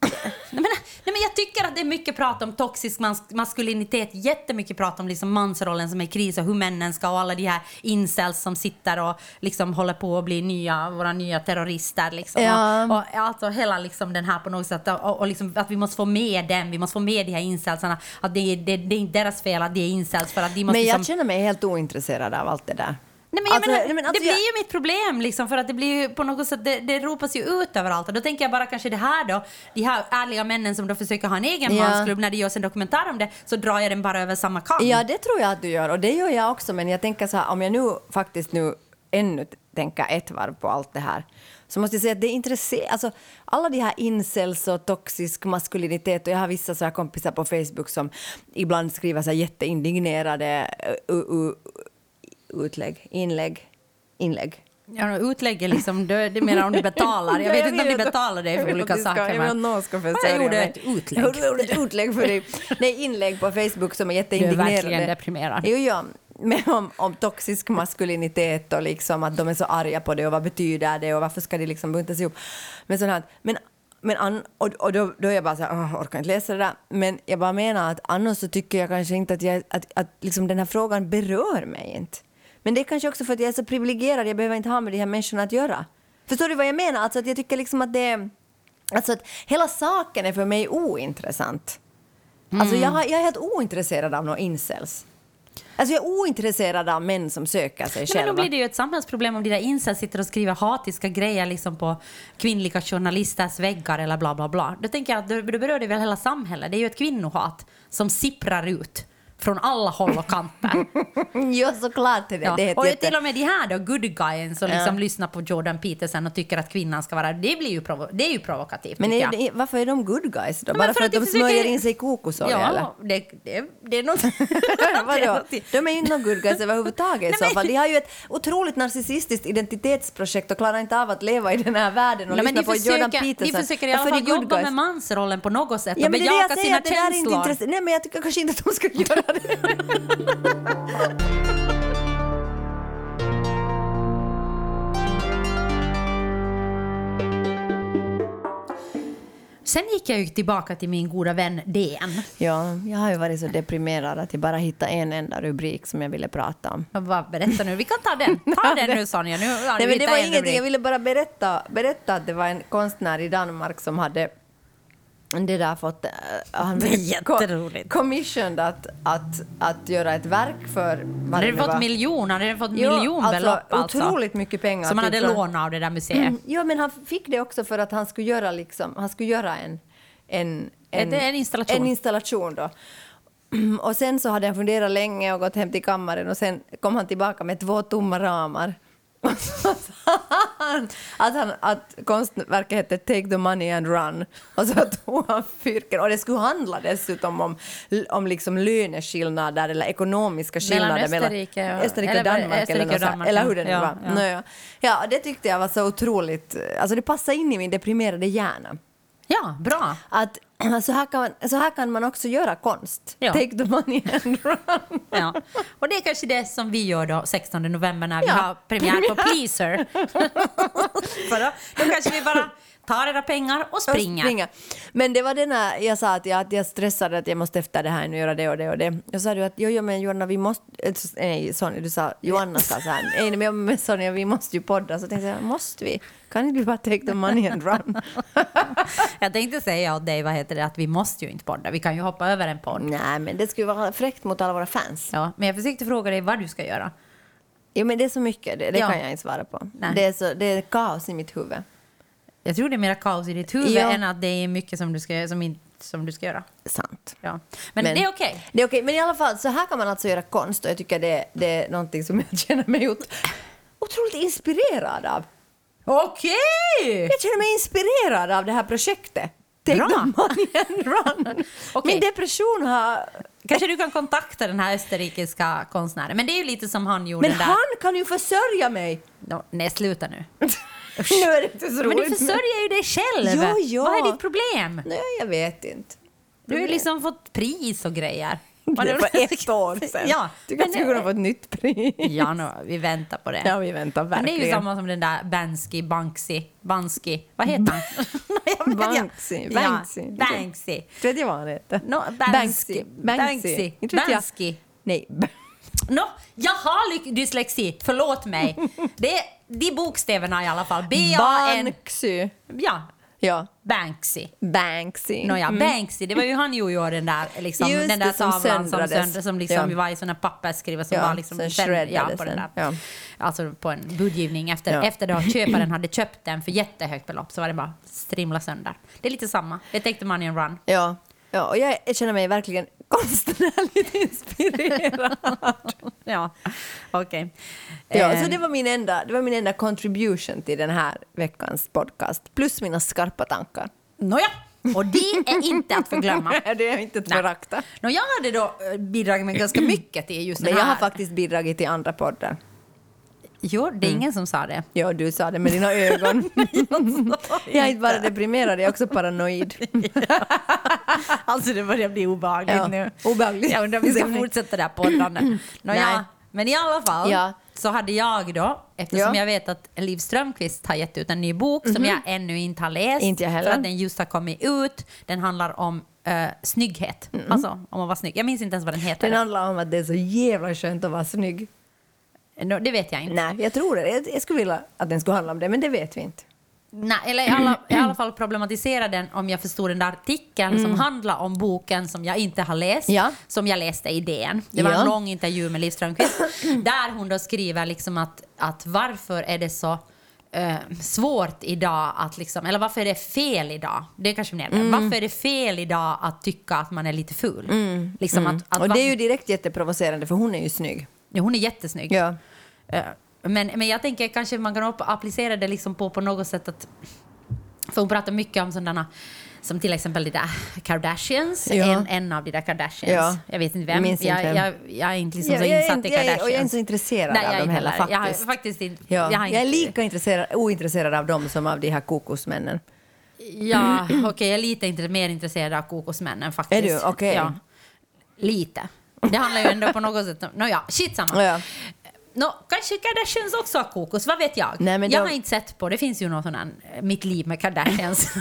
[SPEAKER 2] nej, men, nej, men jag tycker att det är mycket prat om toxisk mas maskulinitet, jättemycket prat om liksom mansrollen som är i kris och hur männen ska och alla de här incels som sitter och liksom håller på att bli nya, våra nya terrorister. Liksom.
[SPEAKER 3] Ja.
[SPEAKER 2] Och, och alltså hela liksom den här på något sätt, och, och liksom att vi måste få med dem, vi måste få med de här incelsarna, att det, är- det, det är inte deras fel att de är incels för att de måste
[SPEAKER 3] Men jag
[SPEAKER 2] liksom,
[SPEAKER 3] känner mig helt ointresserad av allt det där.
[SPEAKER 2] Nej, men jag
[SPEAKER 3] Alltså,
[SPEAKER 2] menar,
[SPEAKER 3] nej, men alltså,
[SPEAKER 2] det blir
[SPEAKER 3] jag-
[SPEAKER 2] ju mitt problem, liksom, för att det blir ju på något sätt, det, det ropas ju ut överallt. Och då tänker jag bara kanske det här då, de här ärliga männen som då försöker ha en egen
[SPEAKER 3] Ja.
[SPEAKER 2] mansklubb, när det görs en dokumentär om det, så drar jag den bara över samma kam.
[SPEAKER 3] Ja, det tror jag att du gör och det gör jag också men jag tänker så här, om jag nu faktiskt nu ännu t- tänker ett varv på allt det här så måste jag säga att det är intresserat, alltså alla de här incels och toxisk maskulinitet och jag har vissa så här kompisar på Facebook som ibland skriver så här jätteindignerade eh, u- u- utlägg, inlägg, inlägg.
[SPEAKER 2] Ja, utlägger liksom, det, det menar om du betalar. Jag
[SPEAKER 3] Ja,
[SPEAKER 2] vet inte om de
[SPEAKER 3] att-
[SPEAKER 2] betalar dig
[SPEAKER 3] jag
[SPEAKER 2] för
[SPEAKER 3] vill
[SPEAKER 2] olika
[SPEAKER 3] att du ska-
[SPEAKER 2] saker.
[SPEAKER 3] Jag vill att någon ska försörja
[SPEAKER 2] jag gjorde
[SPEAKER 3] mig.
[SPEAKER 2] ett utlägg.
[SPEAKER 3] Jag gjorde ett utlägg för dig. Nej, inlägg på Facebook som är jätteindignerade.
[SPEAKER 2] verkligen deprimerad.
[SPEAKER 3] Jo, ja. Men om, om toxisk maskulinitet och liksom att de är så arga på det och vad betyder det och varför ska det liksom buntas ihop. Men sånt här. Men, men an, och, och då, då är jag bara så här, "Åh, jag orkar inte läsa det där. Men jag bara menar att annars så tycker jag kanske inte att, jag, att, att liksom den här frågan berör mig inte. Men det är kanske också för att jag är så privilegierad, jag behöver inte ha med de här människorna att göra. Förstår du vad jag menar? Alltså att jag tycker liksom att det är... Alltså att hela saken är för mig ointressant. Alltså
[SPEAKER 2] Mm.
[SPEAKER 3] jag, har- jag är helt ointresserad av några incels. Alltså jag är ointresserad av män som söker sig
[SPEAKER 2] Nej, men då
[SPEAKER 3] själva.
[SPEAKER 2] blir det ju ett samhällsproblem om dina incels sitter och skriver hatiska grejer liksom på kvinnliga journalisters väggar eller bla bla bla. Då tänker jag att då då berör det väl hela samhället. Det är ju ett kvinnohat som sipprar ut från alla håll och kanter.
[SPEAKER 3] Ja, såklart är det.
[SPEAKER 2] Ja.
[SPEAKER 3] det är ett
[SPEAKER 2] och
[SPEAKER 3] jätte...
[SPEAKER 2] till och med de här då, good guyen som
[SPEAKER 3] Ja.
[SPEAKER 2] liksom lyssnar på Jordan Peterson och tycker att kvinnan ska vara... Det, blir ju provo- det är ju provokativt.
[SPEAKER 3] Men
[SPEAKER 2] tycker
[SPEAKER 3] är
[SPEAKER 2] jag.
[SPEAKER 3] det, varför är de good guys då?
[SPEAKER 2] Men
[SPEAKER 3] Bara för, att de
[SPEAKER 2] försöker-
[SPEAKER 3] smörjer in sig i kokosolja eller?
[SPEAKER 2] Ja, det, det, det är något... det är
[SPEAKER 3] Vadå?
[SPEAKER 2] något-
[SPEAKER 3] De är ju inte någon good guys överhuvudtaget i
[SPEAKER 2] Nej,
[SPEAKER 3] så
[SPEAKER 2] men-
[SPEAKER 3] fall. De har ju ett otroligt narcissistiskt identitetsprojekt och klarar inte av att leva i den här världen och
[SPEAKER 2] Nej, men
[SPEAKER 3] lyssna
[SPEAKER 2] de
[SPEAKER 3] på Jordan
[SPEAKER 2] försöker,
[SPEAKER 3] Peterson.
[SPEAKER 2] de försöker i alla
[SPEAKER 3] Varför är
[SPEAKER 2] fall
[SPEAKER 3] de good
[SPEAKER 2] jobba
[SPEAKER 3] guys?
[SPEAKER 2] med mansrollen på något sätt
[SPEAKER 3] Ja,
[SPEAKER 2] och
[SPEAKER 3] men det är det jag
[SPEAKER 2] bejaka
[SPEAKER 3] säger,
[SPEAKER 2] sina
[SPEAKER 3] att det där är inte
[SPEAKER 2] känslor.
[SPEAKER 3] intressant. Nej, men jag tycker kanske inte att de ska göra det.
[SPEAKER 2] Sen gick jag ju tillbaka till min goda vän DN.
[SPEAKER 3] Ja, jag har ju varit så deprimerad att jag bara hittade en enda rubrik som jag ville prata om.
[SPEAKER 2] Jag bara, berätta nu, vi kan ta den. Ta den nu Sonja, nu har
[SPEAKER 3] Nej, men
[SPEAKER 2] vi
[SPEAKER 3] det var
[SPEAKER 2] hittat en
[SPEAKER 3] ingenting. Jag
[SPEAKER 2] rubrik.
[SPEAKER 3] ville bara berätta, berätta att det var en konstnär i Danmark som hade det där fått... eh, han
[SPEAKER 2] Det är
[SPEAKER 3] blev
[SPEAKER 2] jätteroligt.
[SPEAKER 3] co- Commissioned att, att, att göra ett verk för... Vad
[SPEAKER 2] Hade
[SPEAKER 3] det
[SPEAKER 2] den
[SPEAKER 3] nu
[SPEAKER 2] fått
[SPEAKER 3] var.
[SPEAKER 2] miljoner, hade den fått
[SPEAKER 3] Jo,
[SPEAKER 2] miljonbelopp alltså.
[SPEAKER 3] Otroligt mycket pengar. typ, Mm.
[SPEAKER 2] Som man hade
[SPEAKER 3] från-
[SPEAKER 2] lånat av det där museet.
[SPEAKER 3] Ja, men han fick det också för att han skulle göra, liksom, han skulle göra en, en,
[SPEAKER 2] Ett- en installation.
[SPEAKER 3] En installation då. Och sen så hade han funderat länge och gått hem till kammaren och sen kom han tillbaka med två tomma ramar. Och så sa han att, han, att konstverket hette Take the money and run. Och så tog han fyrken. Och det skulle handla dessutom om, om liksom löneskillnader eller ekonomiska skillnader
[SPEAKER 2] Österrike och-
[SPEAKER 3] Österrike och
[SPEAKER 2] eller-
[SPEAKER 3] Danmark.
[SPEAKER 2] Österrike
[SPEAKER 3] eller,
[SPEAKER 2] och
[SPEAKER 3] något så här.
[SPEAKER 2] Danmark,
[SPEAKER 3] eller
[SPEAKER 2] ja.
[SPEAKER 3] hur det nu
[SPEAKER 2] Ja,
[SPEAKER 3] var.
[SPEAKER 2] ja.
[SPEAKER 3] Nå, Ja, ja det tyckte jag var så otroligt... Alltså det passar in i min deprimerade hjärna.
[SPEAKER 2] Ja, bra.
[SPEAKER 3] Att så här kan man, så här kan man också göra konst.
[SPEAKER 2] Ja.
[SPEAKER 3] Take the money and run.
[SPEAKER 2] Ja. Och det är kanske det som vi gör då 16 november när vi
[SPEAKER 3] Ja.
[SPEAKER 2] har premiär på Pleaser. För då, då kanske vi bara tar era pengar och
[SPEAKER 3] Och
[SPEAKER 2] springer.
[SPEAKER 3] Men det var den här, jag sa att jag, att jag stressade att jag måste efter det här nu göra det och det och det. Jag sa du att jo, jo men Joanna vi måste, eh, s- nej Sonja du sa, Joanna sa så här, nej men jag- men Sonja vi måste ju podda. Så tänkte jag, måste vi? Kan inte vi bara take the money and run?
[SPEAKER 2] Jag tänkte säga åt dig, vad heter det, att vi måste ju inte podda. Vi kan ju hoppa över en podd.
[SPEAKER 3] nej men det skulle vara fräckt mot alla våra fans.
[SPEAKER 2] Ja, men jag försökte fråga dig vad du ska göra.
[SPEAKER 3] Jo men det är så mycket, det, det
[SPEAKER 2] Ja.
[SPEAKER 3] kan jag inte svara på.
[SPEAKER 2] Nej.
[SPEAKER 3] Det är, så, det är kaos i mitt huvud.
[SPEAKER 2] Jag tror det är mera kaos i ditt huvud
[SPEAKER 3] Ja.
[SPEAKER 2] än att det är mycket som du ska, som in, som du ska göra.
[SPEAKER 3] Sant.
[SPEAKER 2] Ja. Men, det är okej.
[SPEAKER 3] Det är okej, men i alla fall så här kan man alltså göra konst och jag tycker det, det är någonting som jag känner mig ot- otroligt inspirerad av.
[SPEAKER 2] Okej!
[SPEAKER 3] Jag känner mig inspirerad av det här projektet. Take
[SPEAKER 2] Bra.
[SPEAKER 3] the money and run.
[SPEAKER 2] Okej.
[SPEAKER 3] Min depression har...
[SPEAKER 2] Kanske du kan kontakta den här österrikiska konstnären. Men det är ju lite som han gjorde
[SPEAKER 3] Men
[SPEAKER 2] där.
[SPEAKER 3] han kan ju försörja mig!
[SPEAKER 2] Nå, nej, sluta nu.
[SPEAKER 3] nu är det inte så
[SPEAKER 2] Men du
[SPEAKER 3] roligt.
[SPEAKER 2] försörjer ju dig själv!
[SPEAKER 3] Jo, ja.
[SPEAKER 2] Vad är ditt problem?
[SPEAKER 3] Nej, jag vet inte.
[SPEAKER 2] Du har ju liksom fått pris och grejer.
[SPEAKER 3] Det är för ett år sedan.
[SPEAKER 2] Ja,
[SPEAKER 3] du kanske
[SPEAKER 2] men- eh,
[SPEAKER 3] kunde få ett nytt pris.
[SPEAKER 2] Ja, nå, vi väntar på det.
[SPEAKER 3] Ja, vi väntar
[SPEAKER 2] Men det
[SPEAKER 3] verkligen.
[SPEAKER 2] är ju samma som den där Bansky, Banksy, Bansky, vad heter han? Jag vet inte.
[SPEAKER 3] Banksy, Banksy.
[SPEAKER 2] Ja, Banksy.
[SPEAKER 3] Vet du vad han heter?
[SPEAKER 2] No, Banksy.
[SPEAKER 3] Banksy.
[SPEAKER 2] Banksy.
[SPEAKER 3] Inte vet jag.
[SPEAKER 2] Banksy.
[SPEAKER 3] Nej.
[SPEAKER 2] Nå, jag har ly- dyslexi, förlåt mig. Det är de bokstäverna i alla fall. B-A-N...
[SPEAKER 3] Banksy.
[SPEAKER 2] Ja,
[SPEAKER 3] Ja.
[SPEAKER 2] Banksy.
[SPEAKER 3] Banksy.
[SPEAKER 2] Nåja, Banksy, det var ju han ju gjorde den där, liksom,
[SPEAKER 3] Mm. Just
[SPEAKER 2] den där
[SPEAKER 3] det, som
[SPEAKER 2] tavlan som,
[SPEAKER 3] söndrades.
[SPEAKER 2] sönder, som liksom
[SPEAKER 3] Ja.
[SPEAKER 2] var i såna pappersskrivar som
[SPEAKER 3] Ja,
[SPEAKER 2] var liksom
[SPEAKER 3] sen
[SPEAKER 2] ja,
[SPEAKER 3] shreddades
[SPEAKER 2] på den där.
[SPEAKER 3] den. Ja.
[SPEAKER 2] Alltså på en budgivning efter,
[SPEAKER 3] Ja.
[SPEAKER 2] efter då köparen hade köpt den för jättehögt belopp så var det bara strimla sönder. Det är lite samma, det tänkte Money and Run.
[SPEAKER 3] Ja. ja, och jag känner mig verkligen konstnärligt inspirerad.
[SPEAKER 2] Ja, okej.
[SPEAKER 3] ja,
[SPEAKER 2] Eh,
[SPEAKER 3] så det var, min enda, det var min enda contribution till den här veckans podcast. Plus mina skarpa tankar.
[SPEAKER 2] Nåja, och det är inte att förglömma.
[SPEAKER 3] det är inte att
[SPEAKER 2] Nej.
[SPEAKER 3] förakta.
[SPEAKER 2] Nå, jag hade då eh, bidragit med ganska mycket till just
[SPEAKER 3] Men
[SPEAKER 2] den
[SPEAKER 3] jag
[SPEAKER 2] här.
[SPEAKER 3] har faktiskt bidragit till andra poddar.
[SPEAKER 2] Jo, det är
[SPEAKER 3] Mm.
[SPEAKER 2] ingen som sa det.
[SPEAKER 3] Ja, du sa det med dina ögon. jag är inte bara deprimerad, jag är också paranoid.
[SPEAKER 2] Alltså det börjar bli obehagligt
[SPEAKER 3] Ja,
[SPEAKER 2] nu.
[SPEAKER 3] obehagligt.
[SPEAKER 2] Jag undrar om vi ska
[SPEAKER 3] Stämning.
[SPEAKER 2] fortsätta det här poddandet. Nåja,
[SPEAKER 3] Nej.
[SPEAKER 2] men i alla fall
[SPEAKER 3] Ja.
[SPEAKER 2] så hade jag då, eftersom
[SPEAKER 3] Ja. Mhm.
[SPEAKER 2] jag vet att Liv Strömquist har gett ut en ny bok som jag ännu inte har läst.
[SPEAKER 3] Inte jag heller.
[SPEAKER 2] För att den just har kommit ut. Den handlar om uh, snygghet. Alltså om att vara snygg. Jag minns inte ens vad den heter.
[SPEAKER 3] Mm. Den handlar om att det är så jävla skönt att vara snygg.
[SPEAKER 2] Nå, det vet jag inte.
[SPEAKER 3] Nej, jag tror det. Jag, jag skulle vilja att den skulle handla om det, men det vet vi inte.
[SPEAKER 2] Nej, eller i alla, i alla fall problematisera den om jag förstod den där artikeln som handlar om boken som jag inte har läst,
[SPEAKER 3] Mm. Ja.
[SPEAKER 2] som jag läste i DN. Det var
[SPEAKER 3] Ja.
[SPEAKER 2] en lång intervju med Liv Strömquist där hon då skriver liksom att, att varför är det så eh, svårt idag att liksom, eller varför är det fel idag? Det är kanske mer
[SPEAKER 3] Mm.
[SPEAKER 2] Varför är det fel idag att tycka att man är lite ful? Liksom Att, att
[SPEAKER 3] Mm. Och det är
[SPEAKER 2] var-
[SPEAKER 3] ju direkt jätteprovocerande, för hon är ju snygg.
[SPEAKER 2] Ja, hon är jättesnygg.
[SPEAKER 3] Ja.
[SPEAKER 2] Eh, Men, men jag tänker kanske man kan upp- applicera det liksom på, på något sätt att... För hon pratar mycket om sådana som till exempel de där Kardashians,
[SPEAKER 3] Ja.
[SPEAKER 2] en, en av de där Kardashians.
[SPEAKER 3] Ja.
[SPEAKER 2] Jag vet inte vem.
[SPEAKER 3] Minns
[SPEAKER 2] jag,
[SPEAKER 3] inte vem.
[SPEAKER 2] Jag, jag är inte liksom
[SPEAKER 3] Ja,
[SPEAKER 2] så
[SPEAKER 3] jag är
[SPEAKER 2] insatt
[SPEAKER 3] inte-
[SPEAKER 2] i
[SPEAKER 3] jag är- och jag är
[SPEAKER 2] Kardashians.
[SPEAKER 3] inte så intresserad av
[SPEAKER 2] jag
[SPEAKER 3] dem
[SPEAKER 2] är inte
[SPEAKER 3] heller,
[SPEAKER 2] Jag har
[SPEAKER 3] faktiskt.
[SPEAKER 2] faktiskt inte...
[SPEAKER 3] Ja.
[SPEAKER 2] har
[SPEAKER 3] Jag, är
[SPEAKER 2] inte-
[SPEAKER 3] lika intresserad, ointresserad av dem som av de här kokosmännen.
[SPEAKER 2] Ja, okej, jag är lite inte, mer intresserad av kokosmännen faktiskt.
[SPEAKER 3] Är du? Okej.
[SPEAKER 2] Ja. Lite. Det handlar ju ändå på något sätt om... Nåja, skitsamma.
[SPEAKER 3] Ja.
[SPEAKER 2] Nå, kanske Kardashians också har kokos, vad vet jag?
[SPEAKER 3] Nej, men
[SPEAKER 2] jag
[SPEAKER 3] de-
[SPEAKER 2] har inte sett på, det finns ju någon sån här eh, Mitt liv med Kardashians.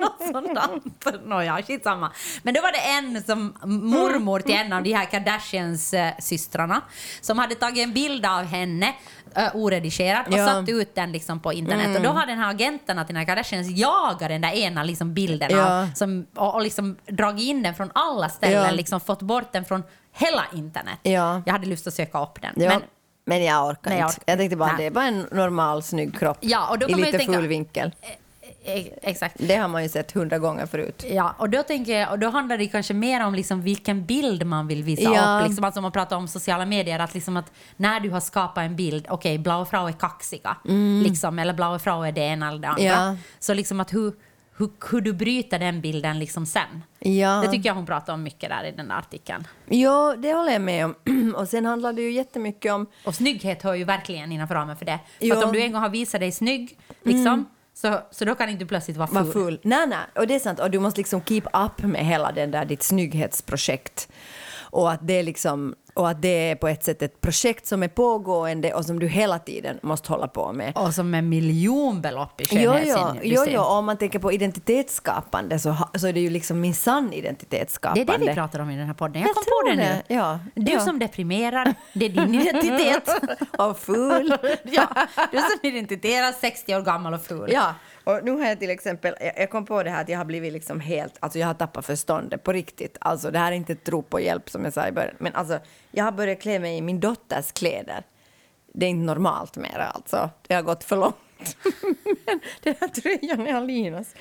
[SPEAKER 2] Något sånt där. Nåja, skitsamma. Men då var det en som mormor till en av de här Kardashians-systrarna som hade tagit en bild av henne eh, oredigerat och
[SPEAKER 3] Ja. Mm.
[SPEAKER 2] satt ut den liksom på internet. Och då har den här agenten att den här Kardashians jagar den där ena liksom bilden av-
[SPEAKER 3] Ja.
[SPEAKER 2] som, och, och liksom dragit in den från alla ställen,
[SPEAKER 3] Ja.
[SPEAKER 2] liksom fått bort den från hela internet.
[SPEAKER 3] Ja.
[SPEAKER 2] Jag hade lust att söka upp den.
[SPEAKER 3] Ja.
[SPEAKER 2] Men,
[SPEAKER 3] Men, jag orkar
[SPEAKER 2] Nej, jag
[SPEAKER 3] inte.
[SPEAKER 2] orkar
[SPEAKER 3] Jag tänkte bara
[SPEAKER 2] inte.
[SPEAKER 3] det är bara en normal snygg kropp
[SPEAKER 2] Ja, och då
[SPEAKER 3] i
[SPEAKER 2] kan man ju
[SPEAKER 3] lite
[SPEAKER 2] tänka-
[SPEAKER 3] full vinkel.
[SPEAKER 2] eh, exakt.
[SPEAKER 3] Det har man ju sett hundra gånger förut.
[SPEAKER 2] Ja, och då, tänker jag, och då handlar det kanske mer om liksom vilken bild man vill visa
[SPEAKER 3] Ja.
[SPEAKER 2] upp. Liksom, alltså om man pratar om sociala medier, att, liksom att när du har skapat en bild, okej, blaue Frau är kaxiga, liksom, eller blaue Frau är det ena eller det andra.
[SPEAKER 3] Mm. Ja.
[SPEAKER 2] Så liksom att hur, hur, hur du bryter den bilden liksom sen.
[SPEAKER 3] Ja.
[SPEAKER 2] Det tycker jag hon pratar om mycket där i den där artikeln.
[SPEAKER 3] Ja, det håller jag med om. Och sen handlar det ju jättemycket om...
[SPEAKER 2] Och snygghet hör ju verkligen innanför ramen för det. För
[SPEAKER 3] Ja.
[SPEAKER 2] att om du en gång har visat dig snygg, liksom, så, så då kan inte du plötsligt vara
[SPEAKER 3] Var
[SPEAKER 2] full.
[SPEAKER 3] Mm. full. Nej, nej. Och det är sant. Och du måste liksom keep up med hela den där ditt snygghetsprojekt. Och att det är liksom... Och att det är på ett sätt ett projekt som är pågående och som du hela tiden måste hålla på med.
[SPEAKER 2] Och som är miljonbelopp i
[SPEAKER 3] Jo, jo,
[SPEAKER 2] skönhetsindustrin.
[SPEAKER 3] jo, jo, om man tänker på identitetsskapande så, ha- så är det ju liksom min sann
[SPEAKER 2] Det
[SPEAKER 3] identitetsskapande.
[SPEAKER 2] är det vi pratar om i den här podden. Jag,
[SPEAKER 3] Jag
[SPEAKER 2] kom på
[SPEAKER 3] tror
[SPEAKER 2] det nu.
[SPEAKER 3] det, ja.
[SPEAKER 2] Du
[SPEAKER 3] Ja.
[SPEAKER 2] som deprimerar, det är din identitet.
[SPEAKER 3] Och full.
[SPEAKER 2] ja, du som identiterar 60 år gammal och full.
[SPEAKER 3] Ja, och nu har jag till exempel, jag, jag kom på det här att jag har blivit liksom helt, alltså jag har tappat förståndet på riktigt. Alltså det här är inte ett rop på hjälp som jag sa i början, men alltså jag har börjat klä mig i min dotters kläder. Det är inte normalt mera alltså, det har gått för långt. men den här tröjan är Alinas.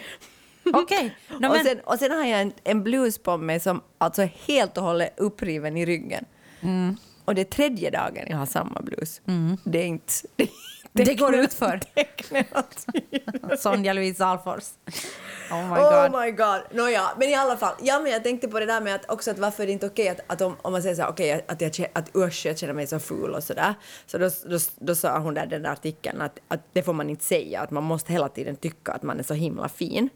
[SPEAKER 2] Okej. Nå,
[SPEAKER 3] och,
[SPEAKER 2] men-
[SPEAKER 3] sen, och sen har jag en, en blus på mig som alltså är helt och hållet uppriven i ryggen.
[SPEAKER 2] Mm.
[SPEAKER 3] Och det är tredje dagen jag har samma blus. Det är inte... Det,
[SPEAKER 2] Det går ut för.
[SPEAKER 3] det är knäppt.
[SPEAKER 2] Sonja Louise Alfors. Oh my
[SPEAKER 3] oh
[SPEAKER 2] god.
[SPEAKER 3] my god. Nåja, men i alla fall. Ja, men jag tänkte på det där med att också att varför är det inte okej att, att om, om man säger så här, okej, att, jag, kä- att usch, jag känner mig så ful och sådär. Så då, då, då sa hon där den där artikeln att, att det får man inte säga, att man måste hela tiden tycka att man är så himla fin.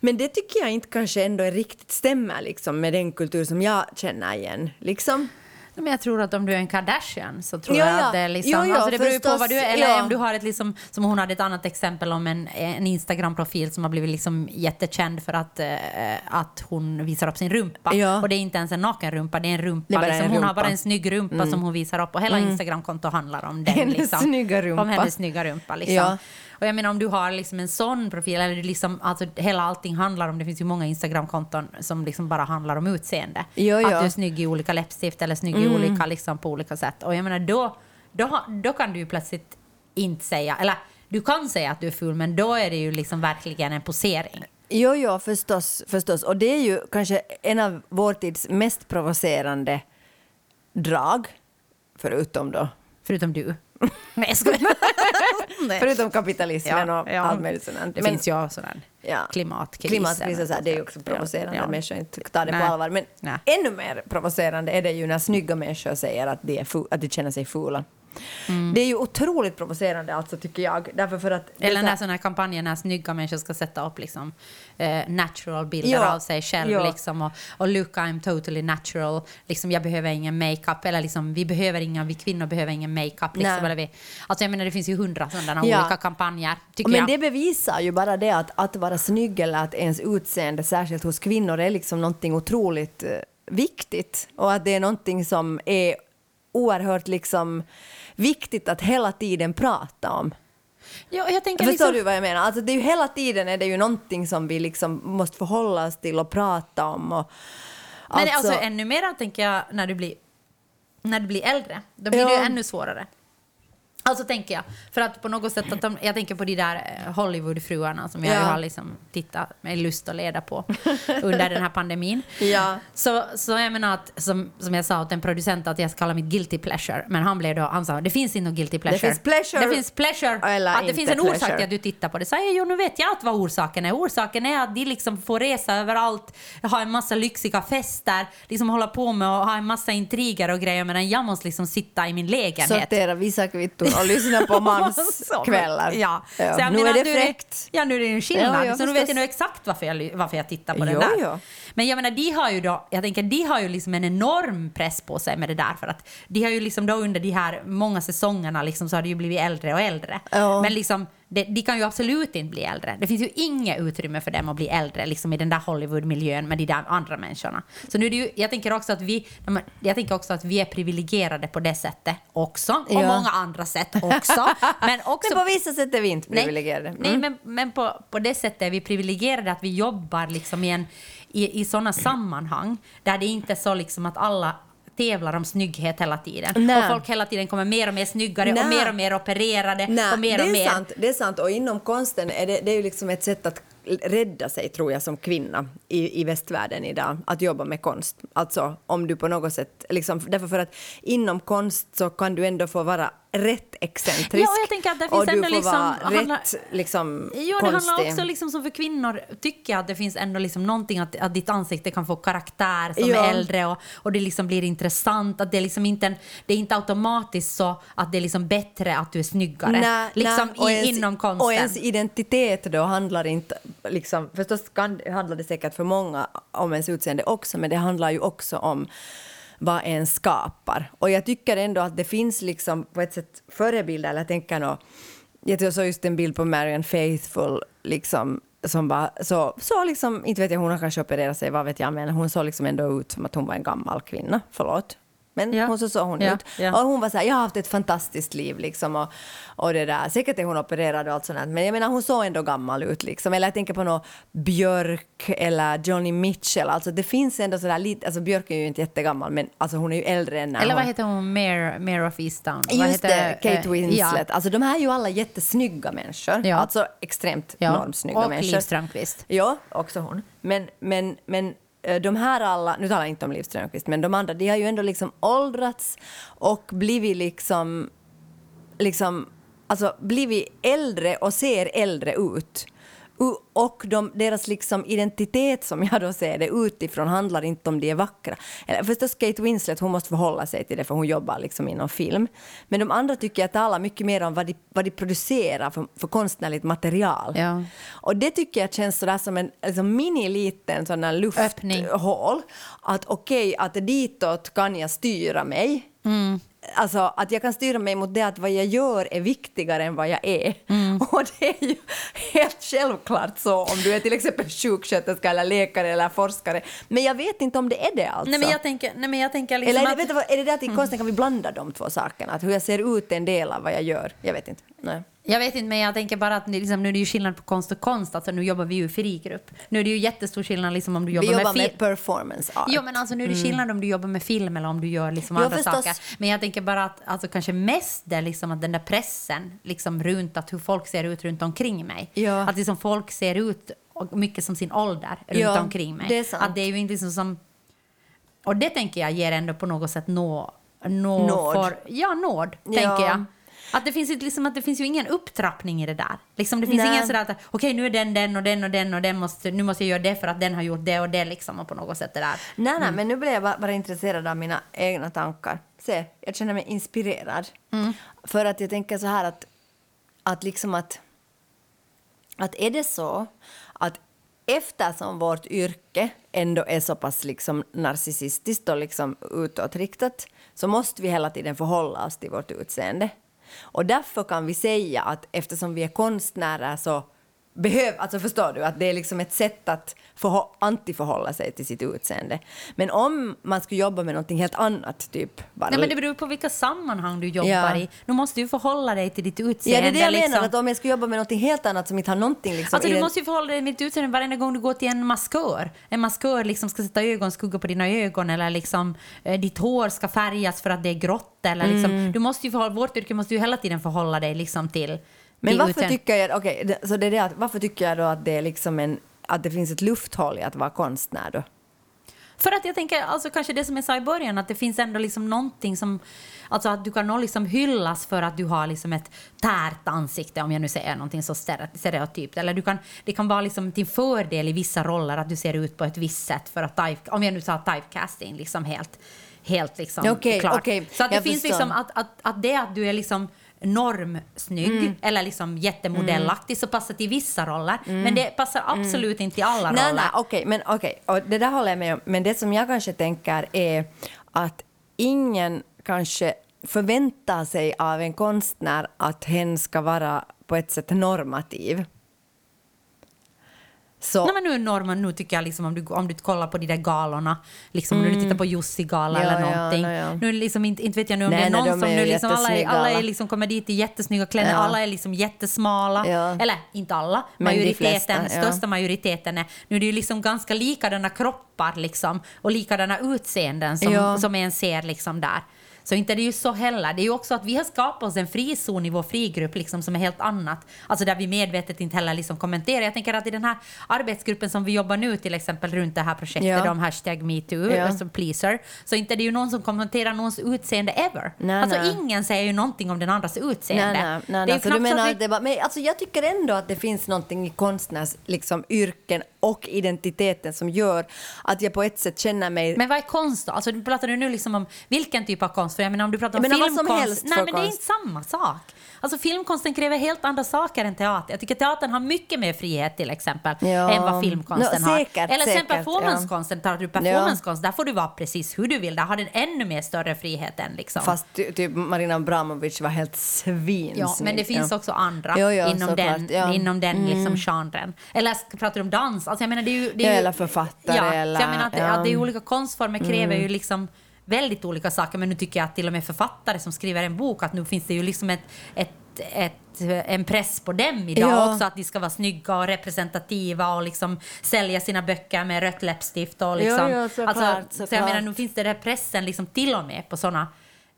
[SPEAKER 3] Men det tycker jag inte kanske ändå är riktigt stämmer liksom med den kultur som jag känner igen. Liksom.
[SPEAKER 2] Men jag tror att om du är en Kardashian så tror
[SPEAKER 3] Ja,
[SPEAKER 2] jag
[SPEAKER 3] ja.
[SPEAKER 2] att det är liksom,
[SPEAKER 3] Jo, ja,
[SPEAKER 2] alltså det beror ju på
[SPEAKER 3] förstås,
[SPEAKER 2] vad du är. Eller
[SPEAKER 3] ja.
[SPEAKER 2] om du har ett liksom, som hon hade ett annat exempel om en, en Instagram-profil som har blivit liksom jättekänd för att, eh, att hon visar upp sin rumpa.
[SPEAKER 3] Ja,
[SPEAKER 2] Och det är inte ens en naken rumpa, det är en rumpa.
[SPEAKER 3] Det är bara
[SPEAKER 2] liksom,
[SPEAKER 3] en
[SPEAKER 2] hon har
[SPEAKER 3] rumpa. Mm.
[SPEAKER 2] bara en snygg rumpa som hon visar upp och hela Instagram-konto handlar om den.
[SPEAKER 3] Hennes
[SPEAKER 2] liksom.
[SPEAKER 3] snygga rumpa.
[SPEAKER 2] Om hennes snygga rumpa. Liksom.
[SPEAKER 3] Ja.
[SPEAKER 2] Och jag menar om du har liksom en sån profil, eller du liksom, alltså hela allting handlar om, det finns ju många Instagramkonton som liksom bara handlar om utseende.
[SPEAKER 3] Jo, jo.
[SPEAKER 2] Att du är snygg i olika läppstift eller snygg
[SPEAKER 3] Mm.
[SPEAKER 2] i olika, liksom på olika sätt. Och jag menar då, då, ha- då kan du ju plötsligt inte säga, eller du kan säga att du är ful, men då är det ju liksom verkligen en posering.
[SPEAKER 3] Jo, jo, förstås, förstås. Och det är ju kanske en av vår tids mest provocerande drag, förutom då
[SPEAKER 2] Förutom du. Nej, jag skojar. Nej.
[SPEAKER 3] Förutom kapitalismen
[SPEAKER 2] Ja,
[SPEAKER 3] och
[SPEAKER 2] ja.
[SPEAKER 3] allt möjligt sånt.
[SPEAKER 2] Det
[SPEAKER 3] Men-
[SPEAKER 2] finns ju också sån här
[SPEAKER 3] Ja.
[SPEAKER 2] klimatkris.
[SPEAKER 3] Klimatkris och så här, det är ju också provocerande.
[SPEAKER 2] Ja.
[SPEAKER 3] Människor inte tar det
[SPEAKER 2] Nej.
[SPEAKER 3] på allvar. Men
[SPEAKER 2] Nej.
[SPEAKER 3] ännu mer provocerande är det ju när snygga människor säger att de, är fu- att de känner sig fula.
[SPEAKER 2] Mm.
[SPEAKER 3] Det är ju otroligt provocerande alltså, tycker jag. Därför för att... det är
[SPEAKER 2] Eller
[SPEAKER 3] så här-
[SPEAKER 2] när sådana här kampanjer när snygga människor ska sätta upp liksom, eh, natural bilder
[SPEAKER 3] Ja,
[SPEAKER 2] av sig själv.
[SPEAKER 3] ja.
[SPEAKER 2] Liksom, och, och look I'm totally natural. Liksom, jag behöver ingen makeup. Eller liksom, vi behöver inga, vi kvinnor behöver ingen makeup. Liksom,
[SPEAKER 3] Nej.
[SPEAKER 2] eller vi, alltså, jag menar det finns ju hundra sådana
[SPEAKER 3] Ja.
[SPEAKER 2] olika kampanjer. Tycker
[SPEAKER 3] Men
[SPEAKER 2] jag.
[SPEAKER 3] det bevisar ju bara det att, att vara snygg eller att ens utseende, särskilt hos kvinnor, är liksom någonting otroligt eh, viktigt. Och att det är någonting som är oerhört liksom viktigt att hela tiden prata om.
[SPEAKER 2] ja, jag tänker,
[SPEAKER 3] Förstår
[SPEAKER 2] liksom,
[SPEAKER 3] du vad jag menar? Alltså det är ju hela tiden är det ju någonting som vi liksom måste förhålla oss till och prata om. Och,
[SPEAKER 2] Men alltså, ännu mer tänker jag när du blir, när du blir äldre. Då blir det ju
[SPEAKER 3] Ja.
[SPEAKER 2] ännu svårare. Alltså tänker jag, för att på något sätt att de, jag tänker på de där eh, Hollywoodfruarna som jag
[SPEAKER 3] Ja.
[SPEAKER 2] ju har liksom tittat med lust och leda på under den här pandemin.
[SPEAKER 3] Ja.
[SPEAKER 2] Så, så jag menar att, som, som jag sa åt en producent att jag ska kalla mitt guilty pleasure, men han blev då, han sa det finns inte något guilty pleasure.
[SPEAKER 3] finns pleasure
[SPEAKER 2] Det finns pleasure.
[SPEAKER 3] eller
[SPEAKER 2] att det
[SPEAKER 3] inte
[SPEAKER 2] finns en orsak
[SPEAKER 3] pleasure.
[SPEAKER 2] till att du tittar på det. Så jag, jo, nu vet jag att vad orsaken är. Orsaken är att de liksom får resa överallt, ha en massa lyxiga fester, liksom hålla på med och ha en massa intriger och grejer medan jag måste liksom sitta i min lägenhet.
[SPEAKER 3] sortera vissa kvitton och lyssna på manskvällar.
[SPEAKER 2] Ja. Så jag
[SPEAKER 3] nu
[SPEAKER 2] menar,
[SPEAKER 3] är det
[SPEAKER 2] nu
[SPEAKER 3] fräckt.
[SPEAKER 2] Ja, nu är det en skillnad.
[SPEAKER 3] Ja, ja,
[SPEAKER 2] så nu vet
[SPEAKER 3] förstås.
[SPEAKER 2] jag nu exakt varför jag, ly- varför jag tittar på den
[SPEAKER 3] Jo,
[SPEAKER 2] där.
[SPEAKER 3] ja.
[SPEAKER 2] Men jag menar, de har ju då, jag tänker, de har ju liksom en enorm press på sig med det där för att de har ju liksom då under de här många säsongerna liksom så har de ju blivit äldre och äldre.
[SPEAKER 3] Ja.
[SPEAKER 2] Men liksom, de, de kan ju absolut inte bli äldre. Det finns ju inget utrymme för dem att bli äldre liksom i den där Hollywood-miljön med de där andra människorna. Så nu är det ju, jag tänker också att vi, när man- jag tänker också att vi är privilegierade på det sättet också, och
[SPEAKER 3] Ja.
[SPEAKER 2] många andra sätt också. Men också
[SPEAKER 3] Men på vissa sätt är vi inte
[SPEAKER 2] Nej,
[SPEAKER 3] privilegierade. Mm.
[SPEAKER 2] Nej, men, men på, på det sättet är vi privilegierade att vi jobbar liksom i, en, i, i sådana sammanhang där det inte är så liksom att alla tävlar om snygghet hela tiden.
[SPEAKER 3] Nej.
[SPEAKER 2] Och folk hela tiden kommer mer och mer snyggare
[SPEAKER 3] Nej.
[SPEAKER 2] och mer och mer opererade
[SPEAKER 3] Nej,
[SPEAKER 2] och mer
[SPEAKER 3] det
[SPEAKER 2] och
[SPEAKER 3] är
[SPEAKER 2] mer.
[SPEAKER 3] Sant, det är sant. Och inom konsten är det, det är ju liksom ett sätt att rädda sig, tror jag, som kvinna i, i västvärlden idag, att jobba med konst. Alltså, om du på något sätt... Liksom, därför för att inom konst så kan du ändå få vara rätt excentrisk.
[SPEAKER 2] Ja, och jag tänker att det finns
[SPEAKER 3] och du
[SPEAKER 2] ändå
[SPEAKER 3] får
[SPEAKER 2] liksom-
[SPEAKER 3] vara
[SPEAKER 2] handlar-
[SPEAKER 3] rätt liksom,
[SPEAKER 2] Jo, det
[SPEAKER 3] konstig.
[SPEAKER 2] handlar också liksom som för kvinnor, tycker jag, att det finns ändå liksom någonting att, att ditt ansikte kan få karaktär som
[SPEAKER 3] Ja.
[SPEAKER 2] är äldre och, och det liksom blir intressant. Att det, är liksom inte en, det är inte automatiskt så att det är liksom bättre att du är snyggare.
[SPEAKER 3] Nej,
[SPEAKER 2] liksom
[SPEAKER 3] nej. Och
[SPEAKER 2] i,
[SPEAKER 3] ens-
[SPEAKER 2] inom konsten.
[SPEAKER 3] Och ens identitet då handlar inte... Liksom, förstås kan, handlar det säkert för många om ens utseende också, men det handlar ju också om vad en skapar. Och jag tycker ändå att det finns liksom på ett sätt förebilder, eller jag tänker nog... Jag tror jag såg just en bild på Marian Faithful liksom, som var så, så liksom, inte vet jag, hon har kanske opererat sig, vad vet jag, men hon såg liksom ändå ut som att hon var en gammal kvinna, förlåt. Men
[SPEAKER 2] Ja.
[SPEAKER 3] hon så såg hon
[SPEAKER 2] Ja,
[SPEAKER 3] ut.
[SPEAKER 2] ja.
[SPEAKER 3] Och och hon var så här, jag har haft ett fantastiskt liv liksom och, och det där. Säkert är hon opererad och allt sånt där, men jag menar hon såg ändå gammal ut liksom. Eller jag tänker på någon Björk eller Johnny Mitchell, alltså det finns ändå sådär lite, alltså Björk är ju inte jättegammal men alltså hon är ju äldre än när
[SPEAKER 2] Eller vad
[SPEAKER 3] hon...
[SPEAKER 2] heter hon, Mare, Mare of Easttown? Vad
[SPEAKER 3] Just
[SPEAKER 2] heter-
[SPEAKER 3] det, Kate
[SPEAKER 2] eh,
[SPEAKER 3] Winslet. Alltså de här är ju alla jättesnygga människor.
[SPEAKER 2] Ja.
[SPEAKER 3] Alltså extremt
[SPEAKER 2] Ja.
[SPEAKER 3] normsnygga
[SPEAKER 2] Och
[SPEAKER 3] människor.
[SPEAKER 2] Liv Strömquist.
[SPEAKER 3] Ja, också hon. Men, men, men eh, de här alla, nu talar jag inte om Liv Strömquist, men de andra, de har ju ändå liksom åldrats och blivit liksom, liksom, alltså blivit äldre och ser äldre ut. U- Och de, deras liksom identitet, som jag då ser det utifrån, handlar inte om de är vackra. Eller, förstås Kate Winslet, hon måste förhålla sig till det för hon jobbar liksom inom film. Men de andra tycker jag talar mycket mer om vad de, vad de producerar för, för konstnärligt material.
[SPEAKER 2] Ja.
[SPEAKER 3] Och det tycker jag känns sådär som en liksom mini-liten sån här
[SPEAKER 2] Öppning.
[SPEAKER 3] lufthål. Att okej, att ditåt kan jag styra mig.
[SPEAKER 2] Mm.
[SPEAKER 3] Alltså att jag kan styra mig mot det att vad jag gör är viktigare än vad jag är.
[SPEAKER 2] Mm.
[SPEAKER 3] Och det är ju helt självklart så om du är till exempel sjuksköterska eller läkare eller forskare. Men jag vet inte om det är det alltså.
[SPEAKER 2] Nej men jag tänker, nej, men jag tänker liksom
[SPEAKER 3] eller är det,
[SPEAKER 2] att... Mm.
[SPEAKER 3] vet du vad, är det det att i konsten kan vi blanda de två sakerna? Att hur jag ser ut är en del av vad jag gör? Jag vet inte. Nej.
[SPEAKER 2] Jag vet inte, men jag tänker bara att nu- liksom, nu är det ju skillnad på konst och konst. Alltså, nu jobbar vi ju i frigrupp. Nu är det ju jättestor skillnad liksom, om du jobbar,
[SPEAKER 3] Vi jobbar
[SPEAKER 2] med
[SPEAKER 3] med
[SPEAKER 2] film.
[SPEAKER 3] performance art.
[SPEAKER 2] Jo, men alltså, nu är det skillnad om du jobbar med film eller om du gör liksom
[SPEAKER 3] Mm. Jo,
[SPEAKER 2] andra
[SPEAKER 3] förstås.
[SPEAKER 2] saker. Men jag tänker bara att alltså, kanske mest det är liksom att den där pressen liksom, runt att hur folk ser ut runt omkring mig.
[SPEAKER 3] Ja.
[SPEAKER 2] Att liksom, folk ser ut och mycket som sin ålder runt
[SPEAKER 3] Ja,
[SPEAKER 2] omkring mig.
[SPEAKER 3] det är sant.
[SPEAKER 2] Att det är ju inte liksom som... Och det tänker jag ger ändå på något sätt nå... nå
[SPEAKER 3] Nåd.
[SPEAKER 2] För, ja, nåd, tänker
[SPEAKER 3] Ja.
[SPEAKER 2] jag. Att det, finns inte, liksom, att det finns ju ingen upptrappning i det där. Liksom, det finns
[SPEAKER 3] Nej.
[SPEAKER 2] ingen sådär att okej nu är den den och den och den och den måste, nu måste jag göra det för att den har gjort det och det liksom och på något sätt det där.
[SPEAKER 3] Nej, nej, men nu blev jag bara, bara intresserad av mina egna tankar. Se, jag känner mig inspirerad. För att jag tänker så här att, att liksom att, att är det så att eftersom vårt yrke ändå är så pass liksom narcissistiskt och liksom utåtriktat så måste vi hela tiden förhålla oss till vårt utseende. Och därför kan vi säga att eftersom vi är konstnärer så behöver, alltså förstår du, att det är liksom ett sätt att förhå- antiförhålla sig till sitt utseende. Men om man skulle jobba med någonting helt annat, typ bara...
[SPEAKER 2] Nej, men det beror på vilka sammanhang du jobbar
[SPEAKER 3] Ja.
[SPEAKER 2] i. Nu måste du förhålla dig till ditt
[SPEAKER 3] ja,
[SPEAKER 2] utseende.
[SPEAKER 3] det är det jag
[SPEAKER 2] liksom.
[SPEAKER 3] menar, att om jag skulle jobba med någonting helt annat som inte har någonting liksom,
[SPEAKER 2] Alltså,
[SPEAKER 3] i
[SPEAKER 2] du
[SPEAKER 3] den-
[SPEAKER 2] måste ju förhålla dig till ditt utseende varenda gång du går till en maskör. En maskör liksom ska sätta ögonskugga på dina ögon eller liksom, eh, ditt hår ska färgas för att det är grått. Eller, liksom,
[SPEAKER 3] Mm.
[SPEAKER 2] du måste ju förhålla, vårt yrke måste ju hela tiden förhålla dig liksom, till
[SPEAKER 3] Men
[SPEAKER 2] till
[SPEAKER 3] varför
[SPEAKER 2] utseende.
[SPEAKER 3] tycker, jag, okej, det- så det är det att, varför tycker jag då att det, är liksom en, att det finns ett lufthål i att vara konstnär? Då?
[SPEAKER 2] För att jag tänker, alltså kanske det som jag sa i början, att det finns ändå liksom någonting som... Alltså att du kan nog liksom hyllas för att du har liksom ett tärt ansikte, om jag nu säger någonting så stere- stereotypt. Eller du kan, det kan vara liksom till fördel i vissa roller att du ser ut på ett visst sätt för att type, om jag nu sa typecasting liksom helt, helt liksom
[SPEAKER 3] Okej,
[SPEAKER 2] klart.
[SPEAKER 3] okej,
[SPEAKER 2] så att det
[SPEAKER 3] jag
[SPEAKER 2] finns
[SPEAKER 3] förstår.
[SPEAKER 2] liksom att, att, att det att du är liksom normsnygg
[SPEAKER 3] Mm.
[SPEAKER 2] eller liksom jättemodellaktig så passar till vissa roller men det passar absolut inte till alla
[SPEAKER 3] Mm. Nej,
[SPEAKER 2] roller.
[SPEAKER 3] nej, okej, men okej, och det där håller jag med om. Men det som jag kanske tänker är att ingen kanske förväntar sig av en konstnär att hen ska vara på ett sätt normativ. Så,
[SPEAKER 2] Nej, men nu är normen, nu tycker jag liksom om du, om du kollar på de där galorna, liksom om du tittar på Jussi-gala
[SPEAKER 3] Mm. Ja,
[SPEAKER 2] eller
[SPEAKER 3] ja,
[SPEAKER 2] någonting.
[SPEAKER 3] nej, ja.
[SPEAKER 2] Nu är det liksom inte, inte vet jag nu om
[SPEAKER 3] Nej,
[SPEAKER 2] det är
[SPEAKER 3] nej,
[SPEAKER 2] någon
[SPEAKER 3] de
[SPEAKER 2] som
[SPEAKER 3] är
[SPEAKER 2] nu liksom, alla, är,
[SPEAKER 3] jättesnygga
[SPEAKER 2] alla
[SPEAKER 3] alla.
[SPEAKER 2] är liksom kommer dit i jättesnygga kläder,
[SPEAKER 3] Ja.
[SPEAKER 2] alla är liksom jättesmala,
[SPEAKER 3] Ja.
[SPEAKER 2] eller inte alla,
[SPEAKER 3] Men de
[SPEAKER 2] majoriteten,
[SPEAKER 3] flesta, ja.
[SPEAKER 2] största majoriteten är, nu är det ju liksom ganska likadana kroppar liksom, och likadana utseenden som,
[SPEAKER 3] Ja.
[SPEAKER 2] som en ser liksom där. Så inte är det ju så heller. Det är ju också att vi har skapat oss en frizon i vår frigrupp liksom, som är helt annat. Alltså där vi medvetet inte heller liksom kommenterar. Jag tänker att i den här arbetsgruppen som vi jobbar nu till exempel runt det här projektet
[SPEAKER 3] Ja.
[SPEAKER 2] om hashtag metoo,
[SPEAKER 3] Ja.
[SPEAKER 2] alltså pleaser, så inte är det ju någon som kommenterar någons utseende ever.
[SPEAKER 3] Nej,
[SPEAKER 2] alltså
[SPEAKER 3] nej.
[SPEAKER 2] ingen säger ju någonting om den andras utseende.
[SPEAKER 3] nej, nej,
[SPEAKER 2] Det är
[SPEAKER 3] nej,
[SPEAKER 2] ju
[SPEAKER 3] nej. Så du
[SPEAKER 2] knappt så
[SPEAKER 3] menar
[SPEAKER 2] att vi-
[SPEAKER 3] att det bara, men alltså jag tycker ändå att det finns någonting i konstnärs liksom, yrken och identiteten som gör att jag på ett sätt känner mig
[SPEAKER 2] Men vad är konst då? Alltså, pratar du nu liksom om vilken typ av konst? För jag menar om du pratar om
[SPEAKER 3] Jag menar vad som
[SPEAKER 2] filmkonst.
[SPEAKER 3] helst
[SPEAKER 2] nej,
[SPEAKER 3] för
[SPEAKER 2] men det är
[SPEAKER 3] konst.
[SPEAKER 2] inte samma sak. Alltså filmkonsten kräver helt andra saker än teater. Jag tycker teatern har mycket mer frihet till exempel
[SPEAKER 3] Ja.
[SPEAKER 2] än vad filmkonsten
[SPEAKER 3] Nå, säkert,
[SPEAKER 2] har. Eller sen
[SPEAKER 3] säkert, ja.
[SPEAKER 2] performancekonsten, tar du performancekonst, där får du vara precis hur du vill. Där har den ännu mer större frihet än liksom.
[SPEAKER 3] Fast ty- typ Marina Abramovic var helt svinsnygg.
[SPEAKER 2] Ja, men det finns
[SPEAKER 3] Ja.
[SPEAKER 2] också andra
[SPEAKER 3] Jo, jo,
[SPEAKER 2] inom,
[SPEAKER 3] såklart,
[SPEAKER 2] den,
[SPEAKER 3] ja. Mm.
[SPEAKER 2] inom den liksom genren. Eller ska- pratar du om dans? Alltså, jag menar, det är ju, det är
[SPEAKER 3] Ja,
[SPEAKER 2] ju,
[SPEAKER 3] eller författare,
[SPEAKER 2] Ja,
[SPEAKER 3] eller-
[SPEAKER 2] så jag menar att,
[SPEAKER 3] ja. Mm.
[SPEAKER 2] att det är olika konstformer kräver ju liksom väldigt olika saker. Men nu tycker jag att till och med författare som skriver en bok, att nu finns det ju liksom ett, ett, ett en press på dem idag
[SPEAKER 3] Ja.
[SPEAKER 2] också att de ska vara snygga och representativa och liksom sälja sina böcker med rött läppstift och liksom.
[SPEAKER 3] Jo, jo, såklart,
[SPEAKER 2] alltså, så jag menar
[SPEAKER 3] såklart.
[SPEAKER 2] nu finns det den här pressen liksom till och med på sådana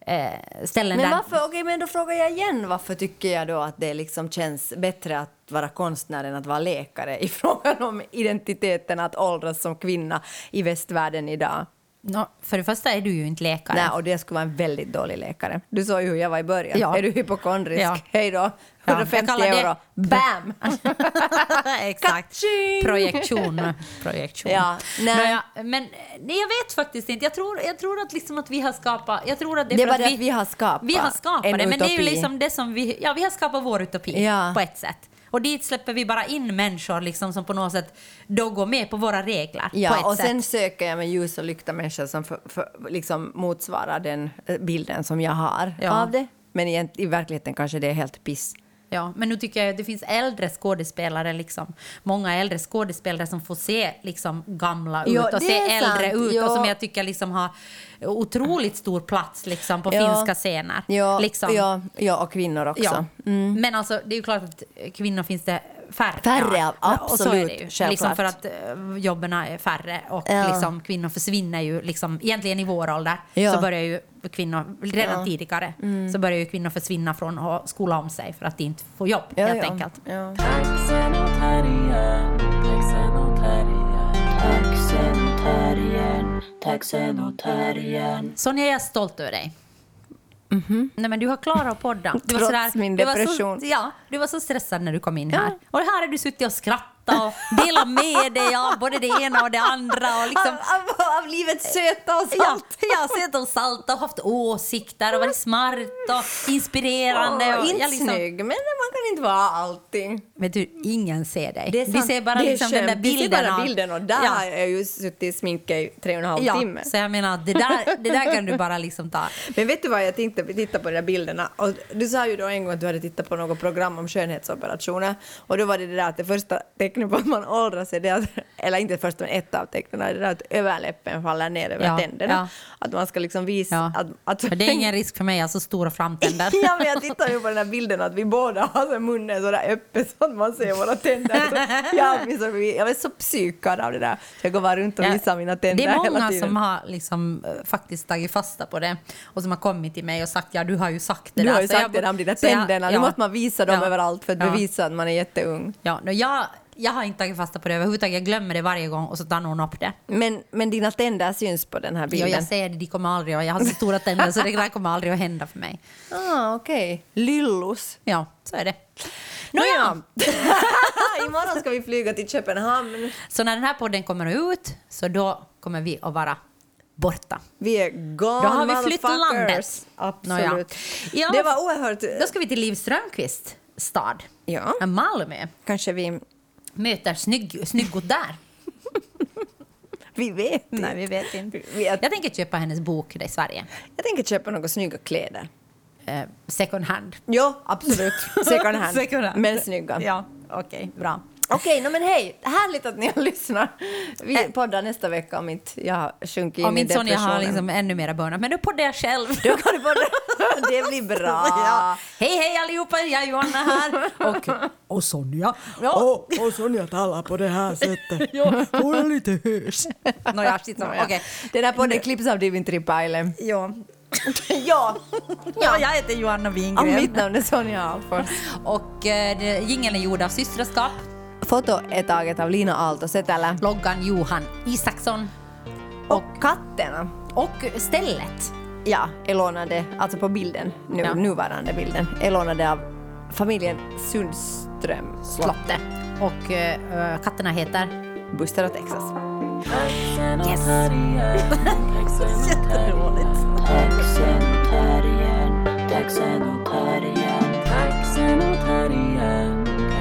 [SPEAKER 2] eh, ställen
[SPEAKER 3] Men
[SPEAKER 2] där
[SPEAKER 3] varför, okej, men då frågar jag igen, varför tycker jag då att det liksom känns bättre att vara konstnär än att vara läkare i frågan om identiteten att åldras som kvinna i västvärlden idag?
[SPEAKER 2] Nå, för det första är du ju inte läkare.
[SPEAKER 3] Nej, och det skulle vara en väldigt dålig läkare. Du sa ju hur jag var i början.
[SPEAKER 2] Ja.
[SPEAKER 3] Är du hypokondrisk?
[SPEAKER 2] Ja.
[SPEAKER 3] Hej då!
[SPEAKER 2] Ja,
[SPEAKER 3] 150
[SPEAKER 2] jag kallar det-
[SPEAKER 3] euro. Bam!
[SPEAKER 2] Exakt.
[SPEAKER 3] Ka-ching!
[SPEAKER 2] Projektion. Projektion.
[SPEAKER 3] Ja, nej.
[SPEAKER 2] Nåja, men nej, jag vet faktiskt inte. Jag tror, jag tror att, liksom att vi har skapat... Jag tror att det, är
[SPEAKER 3] Det är
[SPEAKER 2] för
[SPEAKER 3] bara det att vi har skapat
[SPEAKER 2] Vi har skapat
[SPEAKER 3] en
[SPEAKER 2] det, men det är ju
[SPEAKER 3] utopi.
[SPEAKER 2] liksom det som vi... Ja, vi har skapat vår utopi
[SPEAKER 3] Ja.
[SPEAKER 2] på ett sätt. Och dit släpper vi bara in människor liksom, som på något sätt då går med på våra regler. på ett
[SPEAKER 3] Ja, och
[SPEAKER 2] sätt.
[SPEAKER 3] sen söker jag med ljus och lykta människor som för, för, liksom motsvarar den eh, bilden som jag har
[SPEAKER 2] Ja.
[SPEAKER 3] av det. Men i, i verkligheten kanske det är helt piss.
[SPEAKER 2] Ja, men nu tycker jag att det finns äldre skådespelare, liksom, många äldre skådespelare som får se liksom, gamla
[SPEAKER 3] Ja,
[SPEAKER 2] ut och
[SPEAKER 3] det
[SPEAKER 2] se
[SPEAKER 3] är sant.
[SPEAKER 2] äldre ut
[SPEAKER 3] Ja.
[SPEAKER 2] och som jag tycker liksom, har otroligt stor plats liksom, på
[SPEAKER 3] Ja.
[SPEAKER 2] finska scener.
[SPEAKER 3] Ja,
[SPEAKER 2] liksom.
[SPEAKER 3] ja, ja, och kvinnor också. Mm.
[SPEAKER 2] Ja. Men alltså, det är ju klart att kvinnor finns det färre.
[SPEAKER 3] Färre,
[SPEAKER 2] av. Och så är det ju.
[SPEAKER 3] absolut, självklart.
[SPEAKER 2] Liksom för att eh, jobben är färre och
[SPEAKER 3] Ja.
[SPEAKER 2] liksom, kvinnor försvinner ju. Liksom, egentligen i vår ålder
[SPEAKER 3] Ja. Mm.
[SPEAKER 2] så börjar ju kvinnor, redan tidigare, så börjar ju kvinnor försvinna från att skola om sig för att de inte får jobb
[SPEAKER 3] Ja,
[SPEAKER 2] helt
[SPEAKER 3] ja.
[SPEAKER 2] enkelt.
[SPEAKER 3] Ja.
[SPEAKER 1] Taxenotarien, taxenotarien, taxenotarien, taxenotarien.
[SPEAKER 2] Sonja, jag är stolt över dig. Nej, men du har klarat podden. Du
[SPEAKER 3] Mm-hmm. Trots
[SPEAKER 2] var
[SPEAKER 3] min
[SPEAKER 2] Du var
[SPEAKER 3] depression.
[SPEAKER 2] så, ja, du var så stressad när du kom in här. Och här har du suttit och skrattat och delat med dig av både det ena och det andra. Och liksom,
[SPEAKER 3] Av, av, av livets söta och
[SPEAKER 2] Ja,
[SPEAKER 3] salt.
[SPEAKER 2] jag har sett dem salta och haft åsikter och varit smart och inspirerande.
[SPEAKER 3] Åh,
[SPEAKER 2] och
[SPEAKER 3] inte
[SPEAKER 2] jag liksom-
[SPEAKER 3] snygg, men man kan inte vara allting.
[SPEAKER 2] Vet du, ingen ser dig.
[SPEAKER 3] Det är
[SPEAKER 2] Vi
[SPEAKER 3] sant.
[SPEAKER 2] ser bara
[SPEAKER 3] Det är
[SPEAKER 2] liksom den där
[SPEAKER 3] skönt. Vi ser
[SPEAKER 2] bilden.
[SPEAKER 3] bara
[SPEAKER 2] av-
[SPEAKER 3] bilden och där har
[SPEAKER 2] ja.
[SPEAKER 3] jag ju suttit i sminka i tre och en halv
[SPEAKER 2] Ja,
[SPEAKER 3] timme.
[SPEAKER 2] så jag menar, det där, det där kan du bara liksom ta.
[SPEAKER 3] Men vet du vad jag tänkte titta på de där bilderna? Och du sa ju då en gång att du hade tittat på något program om skönhetsoperationer och då var det det där att det första tecknet på att man åldras är det att, eller inte det första men ett av tecknen, är det där att överläppen faller ner över
[SPEAKER 2] Ja,
[SPEAKER 3] tänderna. Att man ska liksom visa
[SPEAKER 2] Ja.
[SPEAKER 3] att, att...
[SPEAKER 2] För det är ingen risk för mig, jag har så stora framtänder.
[SPEAKER 3] Ja, men jag tittar ju på den här bilden att vi båda har så munnen så där öppen så att man ser våra tänder. Så jag, åtminstone- jag är så psykad av det där. Jag går bara runt och
[SPEAKER 2] Ja,
[SPEAKER 3] visar mina tänder
[SPEAKER 2] Det är
[SPEAKER 3] hela
[SPEAKER 2] många
[SPEAKER 3] tiden.
[SPEAKER 2] som har liksom, eh, faktiskt tagit fasta på det och som har kommit till mig och sagt ja, du har ju sagt det
[SPEAKER 3] Du
[SPEAKER 2] där.
[SPEAKER 3] har ju
[SPEAKER 2] Så
[SPEAKER 3] sagt
[SPEAKER 2] jag-
[SPEAKER 3] det där om dina
[SPEAKER 2] så jag-
[SPEAKER 3] tänderna, nu
[SPEAKER 2] ja.
[SPEAKER 3] måste man visa dem
[SPEAKER 2] Ja.
[SPEAKER 3] överallt för att
[SPEAKER 2] Ja.
[SPEAKER 3] bevisa att man är jätteung.
[SPEAKER 2] Ja, no, jag, jag har inte tagit fasta på det överhuvudtaget. Jag glömmer det varje gång och så tar någon upp det.
[SPEAKER 3] Men, men dina tänder syns på den här
[SPEAKER 2] Ja,
[SPEAKER 3] bilden?
[SPEAKER 2] jag säger det, de kommer aldrig att, jag har så stora tänder så det där kommer aldrig att hända för mig.
[SPEAKER 3] Ah, okej. Lillus.
[SPEAKER 2] Ja, så är det.
[SPEAKER 3] Nåja! Imorgon ska vi flyga till Köpenhamn.
[SPEAKER 2] Så när den här podden kommer ut så då kommer vi att vara borta.
[SPEAKER 3] Vi är gone
[SPEAKER 2] Då har vi flytt
[SPEAKER 3] motherfuckers.
[SPEAKER 2] landet. Nåja.
[SPEAKER 3] Absolut.
[SPEAKER 2] Ja,
[SPEAKER 3] det
[SPEAKER 2] men-
[SPEAKER 3] var oerhört...
[SPEAKER 2] Då ska vi till Liv Strömquists stad,
[SPEAKER 3] Ja,
[SPEAKER 2] Malmö.
[SPEAKER 3] kanske vi...
[SPEAKER 2] Möter snygg, snyggot där.
[SPEAKER 3] Vi vet inte.
[SPEAKER 2] Nej, vi vet inte.
[SPEAKER 3] Vi vet.
[SPEAKER 2] Jag tänker köpa hennes bok i Sverige.
[SPEAKER 3] Jag tänker köpa några snygga kläder.
[SPEAKER 2] Eh, second hand.
[SPEAKER 3] Ja, absolut. Second hand.
[SPEAKER 2] Second hand.
[SPEAKER 3] Men snygga.
[SPEAKER 2] Ja, okej, bra.
[SPEAKER 3] Okej, no, men hej! Härligt att ni har lyssnat. Vi poddar nästa vecka om inte jag har sjunkit
[SPEAKER 2] Om
[SPEAKER 3] in i
[SPEAKER 2] inte Sonja
[SPEAKER 3] depressionen.
[SPEAKER 2] har liksom ännu mera bönar. Men då poddar jag själv.
[SPEAKER 3] Då kan du podda. Det blir bra.
[SPEAKER 2] Ja. Hej, hej allihopa! Jag är Johanna här. Och,
[SPEAKER 4] Och Oh, Sonja.
[SPEAKER 2] Ja.
[SPEAKER 4] Och, och Sonja talar på det här sättet. Hon är lite hös.
[SPEAKER 2] nåja, skitsamma. Okej.
[SPEAKER 3] Den här podden klipps av Divin Tripaile.
[SPEAKER 2] Ja.
[SPEAKER 3] Ja,
[SPEAKER 2] ja, jag heter Johanna
[SPEAKER 3] och
[SPEAKER 2] Wingren.
[SPEAKER 3] mitt namn är Sonja Alfors.
[SPEAKER 2] Och eh, jingeln är gjord av Systraskap,
[SPEAKER 3] Foto är taget av Lina Aalto-Setälä.
[SPEAKER 2] loggan Johan Isaksson
[SPEAKER 3] Och katterna,
[SPEAKER 2] och stället.
[SPEAKER 3] ja, är lånade, alltså på bilden, nu,
[SPEAKER 2] Ja.
[SPEAKER 3] nuvarande bilden, är lånade av familjen Sundström slott.
[SPEAKER 2] Slottet. Och eh, katterna heter...
[SPEAKER 3] Buster och Texas.
[SPEAKER 1] Taxenotarien, taxenotarien, taxenotarien, taxenotarien,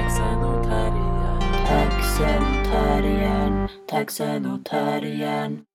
[SPEAKER 1] taxenotarien, taxenotarien, taxenotarien.